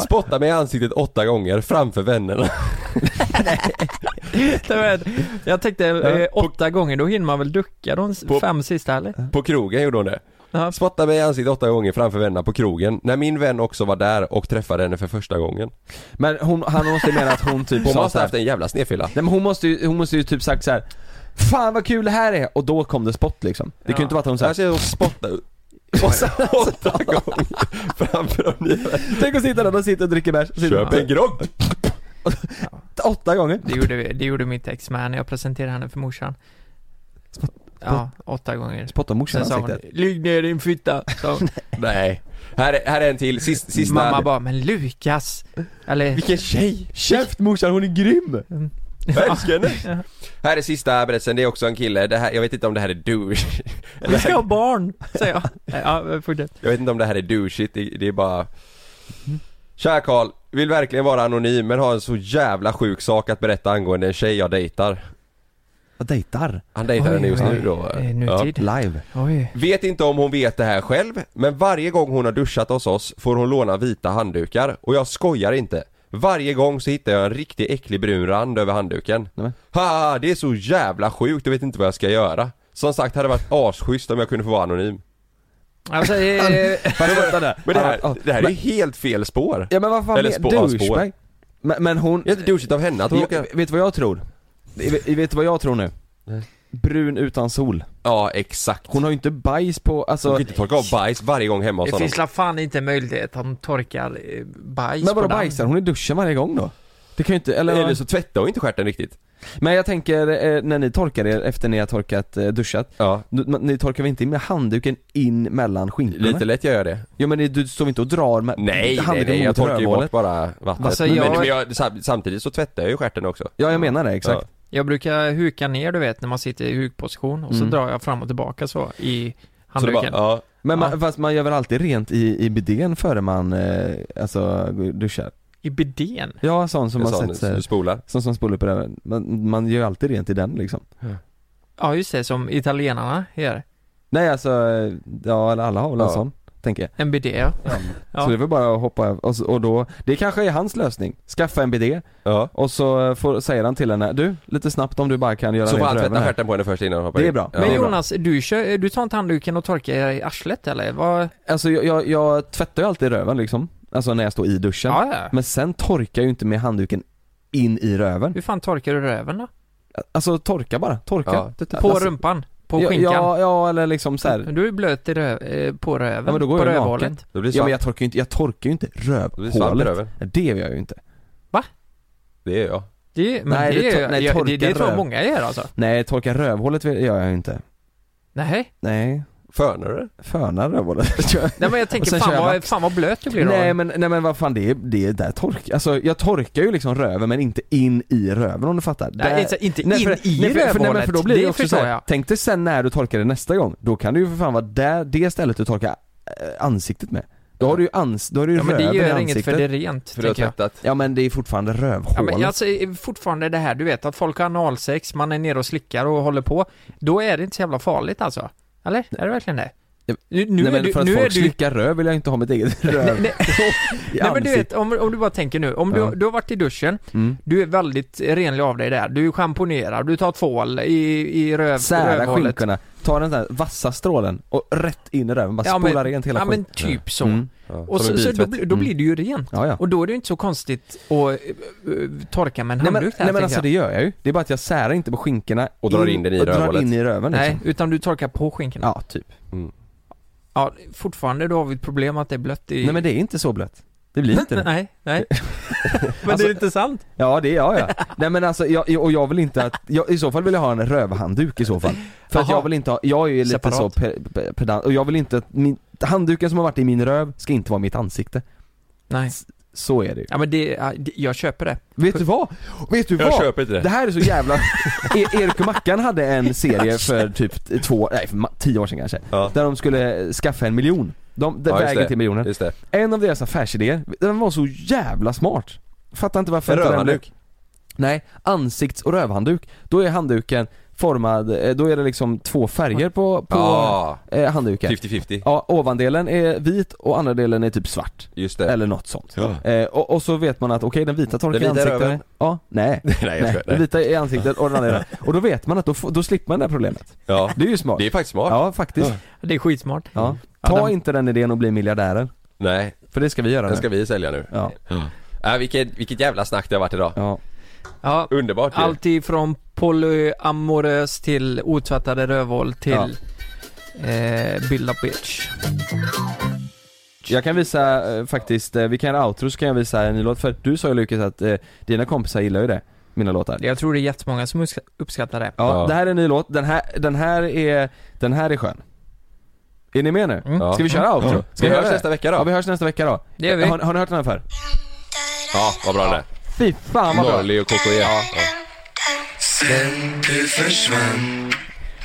Speaker 8: spottade mig i ansiktet åtta gånger framför vännerna.
Speaker 6: Det var- jag tänkte eh, åtta gånger, då hinner man väl ducka de s- fem sista eller?
Speaker 8: På krogen gjorde hon det. Spottade mig i ansiktet åtta gånger framför vännerna på krogen när min vän också var där och träffade henne för första gången.
Speaker 5: Men hon, han måste mena att hon typ
Speaker 8: Hon
Speaker 5: sa
Speaker 8: måste
Speaker 5: så här-
Speaker 8: haft en jävla snedfylla.
Speaker 5: Nej men hon måste ju, hon måste ju typ sagt så här. Fan vad kul det här är! Och då kom det spott liksom. Det kan ju inte vara att hon såhär...
Speaker 8: Alltså hon spottade åtta gånger framför de nya.
Speaker 5: Tänk att sitta där, de sitter och dricker bärs. och sitter-
Speaker 8: Köp en grogg!
Speaker 5: Åtta gånger.
Speaker 6: Det gjorde, vi- det gjorde mitt ex med när jag presenterade henne för morsan. Ja, åtta gånger.
Speaker 5: Spotta morsan i
Speaker 6: Sen sa hon,
Speaker 5: ansiktet.
Speaker 6: Ligg ner din fitta, sa hon.
Speaker 8: Nej. Här, är- här är en till,
Speaker 5: Mm.
Speaker 8: Sist, sista.
Speaker 6: Mamma bara, men Lukas! Eller...
Speaker 8: Vilken tjej!
Speaker 5: Käft morsan, hon är grym!
Speaker 8: Jag älskar henne! Mm. Här är sista berättelsen, det är också en kille, det här, jag vet inte om det här är douche.
Speaker 6: Vi ska ha barn, säger jag. Nej, Ja, fortsätt.
Speaker 8: Jag vet inte om det här är douchigt, det, det är bara... Kära Karl, vill verkligen vara anonym men har en så jävla sjuk sak att berätta angående en tjej jag dejtar.
Speaker 5: Jag dejtar?
Speaker 8: Han dejtar
Speaker 5: Oj,
Speaker 8: henne just
Speaker 5: oj,
Speaker 8: nu då.
Speaker 5: oj, nutid. Live.
Speaker 6: Oj.
Speaker 8: Vet inte om hon vet det här själv, men varje gång hon har duschat hos oss får hon låna vita handdukar och jag skojar inte. Varje gång så hittar jag en riktigt äcklig brun rand över handduken. Ha, det är så jävla sjukt, jag vet inte vad jag ska göra. Som sagt, hade det varit asschysst om jag kunde få vara anonym.
Speaker 6: Alltså, eh,
Speaker 8: Men det här,
Speaker 5: Ja,
Speaker 8: det här är ju
Speaker 5: men-
Speaker 8: helt fel spår.
Speaker 5: Ja men vad fan,
Speaker 8: Eller
Speaker 5: men-
Speaker 8: spår, ja, spår.
Speaker 5: douchebag. Men, men hon...
Speaker 8: Det är inte douchigt av henne att hon
Speaker 5: jag,
Speaker 8: åker-
Speaker 5: Vet du vad jag tror? Vet vet du vad jag tror nu? Brun utan sol.
Speaker 8: Ja, exakt.
Speaker 5: Hon har ju inte bajs på, alltså...
Speaker 8: Hon kan inte torka av bajs varje gång hemma hos
Speaker 6: Det
Speaker 8: honom.
Speaker 6: finns la fan inte möjlighet att hon torkar eh, bajs
Speaker 5: Men
Speaker 6: på
Speaker 5: vadå
Speaker 6: damm.
Speaker 5: bajsar hon i duschen varje gång då? Det kan ju inte, eller?
Speaker 8: Eller så tvättar hon inte stjärten riktigt.
Speaker 5: Men jag tänker, eh, när ni torkar er efter ni har torkat, eh, duschat
Speaker 8: ja.
Speaker 5: Ni torkar väl inte in med handduken in mellan skinkorna?
Speaker 8: Lite lätt jag gör det.
Speaker 5: Ja men det- du står inte och drar med
Speaker 8: Nej, nej, nej, jag torkar ju bort bara vattnet.
Speaker 6: Alltså,
Speaker 8: men,
Speaker 6: jag-
Speaker 8: men jag, sam- samtidigt så tvättar jag ju stjärten också.
Speaker 5: Ja jag menar det, exakt
Speaker 8: Ja.
Speaker 6: Jag brukar huka ner du vet när man sitter i hukposition och så
Speaker 5: Mm.
Speaker 6: drar jag fram och tillbaka så i
Speaker 5: Så det
Speaker 6: handduken.
Speaker 5: bara-
Speaker 8: ja.
Speaker 5: Men man, fast man gör väl alltid rent i, i bidén före man, eh, alltså duschar?
Speaker 6: I bidén?
Speaker 5: Ja, sån som eh,
Speaker 4: En
Speaker 5: man
Speaker 4: sån
Speaker 5: sätter sig
Speaker 4: du spolar?
Speaker 5: Sån som spolar på den, man, man gör ju alltid rent i den liksom
Speaker 6: Ja just det, som italienarna gör.
Speaker 5: Nej alltså, eh, ja eller alla har väl en
Speaker 6: Ja.
Speaker 5: sån, tänker jag
Speaker 6: En bidé ja.
Speaker 5: Så det är väl bara att hoppa och, s- och då, det kanske är hans lösning, skaffa en bidé och så eh, får, säger han till henne, du lite snabbt om du bara kan göra
Speaker 4: Så får
Speaker 5: rent
Speaker 4: han
Speaker 5: röven
Speaker 4: tvätta
Speaker 5: här."
Speaker 4: stjärten på henne först innan han hoppar
Speaker 5: Det är
Speaker 4: in.
Speaker 5: bra.
Speaker 6: Men
Speaker 5: Ja.
Speaker 6: Jonas, du, kör, du tar inte handduken och torkar i arslet eller? Vad...
Speaker 5: Alltså jag, jag, jag tvättar ju alltid röven liksom, alltså när jag står i duschen
Speaker 6: Ja, ja.
Speaker 5: Men sen torkar jag ju inte med handduken in i röven
Speaker 6: Hur fan torkar du röven då?
Speaker 5: Alltså torka bara, torka
Speaker 6: På
Speaker 5: Alltså-
Speaker 6: rumpan? På
Speaker 5: Ja,
Speaker 6: skinkan? Mm.
Speaker 5: Ja, ja eller liksom så här.
Speaker 6: Du är blöt i röv, eh, på röven,
Speaker 5: Ja men då går
Speaker 6: på
Speaker 5: jag ju
Speaker 6: rövhålet.
Speaker 5: naken. Ja men jag torkar ju inte, jag torkar ju inte
Speaker 4: blir svamp i
Speaker 5: rövhålet.
Speaker 4: röven.
Speaker 5: Det gör jag ju inte.
Speaker 6: Va?
Speaker 4: Det är jag.
Speaker 6: Det, men nej, det,
Speaker 5: tor-
Speaker 6: gör- det, det, det
Speaker 5: torka
Speaker 6: tror
Speaker 5: röv-
Speaker 6: många gör alltså.
Speaker 5: Nej, torka rövhålet vill- gör jag ju inte.
Speaker 6: Nej.
Speaker 5: Nej.
Speaker 4: Förnar du
Speaker 5: Förnar rövhålet.
Speaker 6: Nej men jag
Speaker 5: Och
Speaker 6: tänker
Speaker 5: sen kör
Speaker 6: fan
Speaker 5: jag
Speaker 6: vad,
Speaker 5: vax.
Speaker 6: fan vad blöt du blir då.
Speaker 5: nej men, nej men vad fan det är, det är där tork, alltså jag torkar ju liksom röven men inte in i röven om du fattar.
Speaker 6: Nej,
Speaker 5: Där-
Speaker 6: inte- inte
Speaker 5: nej, för,
Speaker 6: in i
Speaker 5: nej, för, för, nej, men
Speaker 6: rövhålet.
Speaker 5: för då blir det,
Speaker 6: Det
Speaker 5: också så
Speaker 6: förstår
Speaker 5: här,
Speaker 6: jag.
Speaker 5: tänk dig sen när du torkar det nästa gång, då kan du ju för fan vara där, det stället du torkar eh, ansiktet med. Då har du ju ans, då har du ju
Speaker 6: Ja, men det
Speaker 5: röven i
Speaker 6: gör inget,
Speaker 5: ansiktet.
Speaker 6: för det är rent, För du har tänker jag.
Speaker 5: Ja men det är fortfarande rövhålet.
Speaker 6: Ja, men alltså, fortfarande det här, du vet att folk har analsex, man är nere och slickar och håller på. Då är det inte så jävla farligt alltså. Eller? Är det verkligen det? Nu, nu
Speaker 5: nej
Speaker 6: är
Speaker 5: men
Speaker 6: du-
Speaker 5: för att
Speaker 6: nu är
Speaker 5: folk
Speaker 6: du-
Speaker 5: slickar röv vill jag inte ha mitt eget röv
Speaker 6: Nej,
Speaker 5: i
Speaker 6: Nej men du
Speaker 5: ansiktet.
Speaker 6: vet, om, om du bara tänker nu, om
Speaker 5: Ja.
Speaker 6: du, du har varit i duschen,
Speaker 5: Mm.
Speaker 6: du är väldigt renlig av dig där, du schamponerar, du tar tvål i, i röv,
Speaker 5: Sära
Speaker 6: rövhålet.
Speaker 5: skinkorna, ta den där vassa strålen och rätt in i röven, bara
Speaker 6: Ja, men-
Speaker 5: spola rent hela
Speaker 6: ja, men
Speaker 5: skiten. Mm.
Speaker 6: typ så.
Speaker 5: Ja,
Speaker 6: Och
Speaker 5: som
Speaker 6: så,
Speaker 5: en
Speaker 6: så då,
Speaker 5: biltvätt.
Speaker 6: blir- då
Speaker 5: Mm.
Speaker 6: blir det ju rent.
Speaker 5: Ja, ja.
Speaker 6: Och då är det ju inte så konstigt att eh, eh, torka med en
Speaker 5: Nej men,
Speaker 6: handduk
Speaker 5: nej, men alltså det gör jag ju, det är bara att jag särar inte på skinkorna
Speaker 4: Och drar in den i
Speaker 5: och drar
Speaker 4: rövhålet.
Speaker 5: in i röven
Speaker 6: Nej,
Speaker 5: liksom.
Speaker 6: utan du torkar på skinkorna.
Speaker 5: Ja, typ.
Speaker 6: Ja, fortfarande då har vi ett problem att det är blött i...
Speaker 5: Nej men det är inte så blött, det blir inte det
Speaker 6: Nej, nej. Men
Speaker 5: Alltså-
Speaker 6: det är inte sant.
Speaker 5: Ja det är jag ja. Nej men alltså, jag, och jag vill inte att, jag, i så fall vill jag ha en rövhandduk i så fall. För att
Speaker 6: Jaha.
Speaker 5: jag vill inte ha, jag är ju lite
Speaker 6: Separat.
Speaker 5: så pe- pe- pedant, och jag vill inte att min, handduken som har varit i min röv ska inte vara mitt ansikte.
Speaker 6: Nej.
Speaker 5: Så är det ju.
Speaker 6: Ja men det, ja, det- jag köper det.
Speaker 5: Vet du vad? Vet du
Speaker 6: Jag
Speaker 5: vad?
Speaker 6: köper inte det.
Speaker 5: Det här är så jävla... E- Erik och Mackan hade en serie för typ t- två, nej för ma- tio år sedan kanske. Där de skulle skaffa en miljon. De, de
Speaker 4: Ja, just
Speaker 5: vägen
Speaker 4: det.
Speaker 5: till miljonen.
Speaker 4: Just det.
Speaker 5: En av deras affärsidéer, den var så jävla smart. Fattar inte varför
Speaker 4: En
Speaker 5: inte den blev-
Speaker 4: rövhandduk.
Speaker 5: Nej, ansikts och rövhandduk. Då är handduken formad, eh, då är det liksom två färger på, på
Speaker 4: Ja.
Speaker 5: eh,
Speaker 4: Typ
Speaker 5: handduken.
Speaker 4: 50-50.
Speaker 5: Ja, ovandelen är vit och andra delen är typ svart.
Speaker 4: Just det.
Speaker 5: Eller något sånt.
Speaker 4: Ja.
Speaker 5: Eh, och, och så vet man att okej den vita torkar
Speaker 4: Den vita
Speaker 5: ansiktet.
Speaker 4: röven.
Speaker 5: Ja, nej.
Speaker 4: Nej, jag skojar.
Speaker 5: Den vita i ansiktet och den andra i den. Och då vet man att då, får- då slipper man det här problemet.
Speaker 4: Ja.
Speaker 5: Det är ju smart.
Speaker 4: Det är faktiskt smart.
Speaker 5: Ja, faktiskt.
Speaker 6: Det är skitsmart. Mm.
Speaker 5: Ja. Ta inte den idén och bli miljardärer.
Speaker 4: Nej.
Speaker 5: För det ska vi göra
Speaker 4: Den
Speaker 5: nu.
Speaker 4: ska vi sälja nu.
Speaker 5: Ja.
Speaker 4: Äh, vilket, vilket jävla snack det har varit idag.
Speaker 5: Ja.
Speaker 6: Ja,
Speaker 4: Underbart ju.
Speaker 6: Allt ifrån polyamorös till otvättade rövhål till eh, build up bitch.
Speaker 5: Jag kan visa eh, faktiskt, eh, vi kan göra outro så kan jag visa en ny låt. För du sa ju Lukas att eh, dina kompisar gillar ju det, mina låtar.
Speaker 6: Jag tror det är jättemånga som uppsk- uppskattar det.
Speaker 5: Ja, det här är en ny låt, den här, den här är, den här är skön Är ni med nu?
Speaker 6: Ja.
Speaker 5: Ska vi köra
Speaker 6: Mm.
Speaker 5: outro?
Speaker 6: Ja.
Speaker 5: Ska
Speaker 6: Vi hörs
Speaker 5: göra det?
Speaker 6: nästa vecka då.
Speaker 5: Ja vi hörs nästa vecka då
Speaker 6: Det gör vi.
Speaker 5: Har, har ni hört den här för?
Speaker 4: Ja, vad bra det
Speaker 5: Fy fan vad bra!
Speaker 4: Norli och KKE. Ja.
Speaker 14: Sen du försvann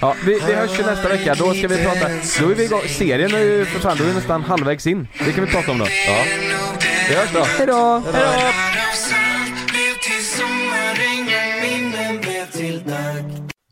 Speaker 5: Ja, vi, vi hörs ju nästa vecka, då ska vi prata, då är vi igång, serien är ju för fan, då är vi nästan halvvägs in Det kan vi prata om då
Speaker 4: Ja
Speaker 5: Vi hörs då! Hejdå!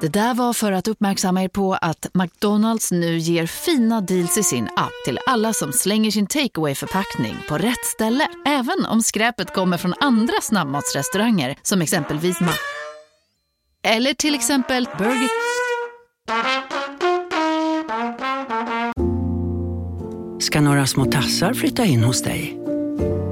Speaker 15: Det där var för att uppmärksamma er på att McDonalds nu ger fina deals i sin app till alla som slänger sin takeaway förpackning på rätt ställe. Även om skräpet kommer från andra snabbmatsrestauranger som exempelvis Ma... Eller till exempel Burger...
Speaker 16: ska några små tassar flytta in hos dig.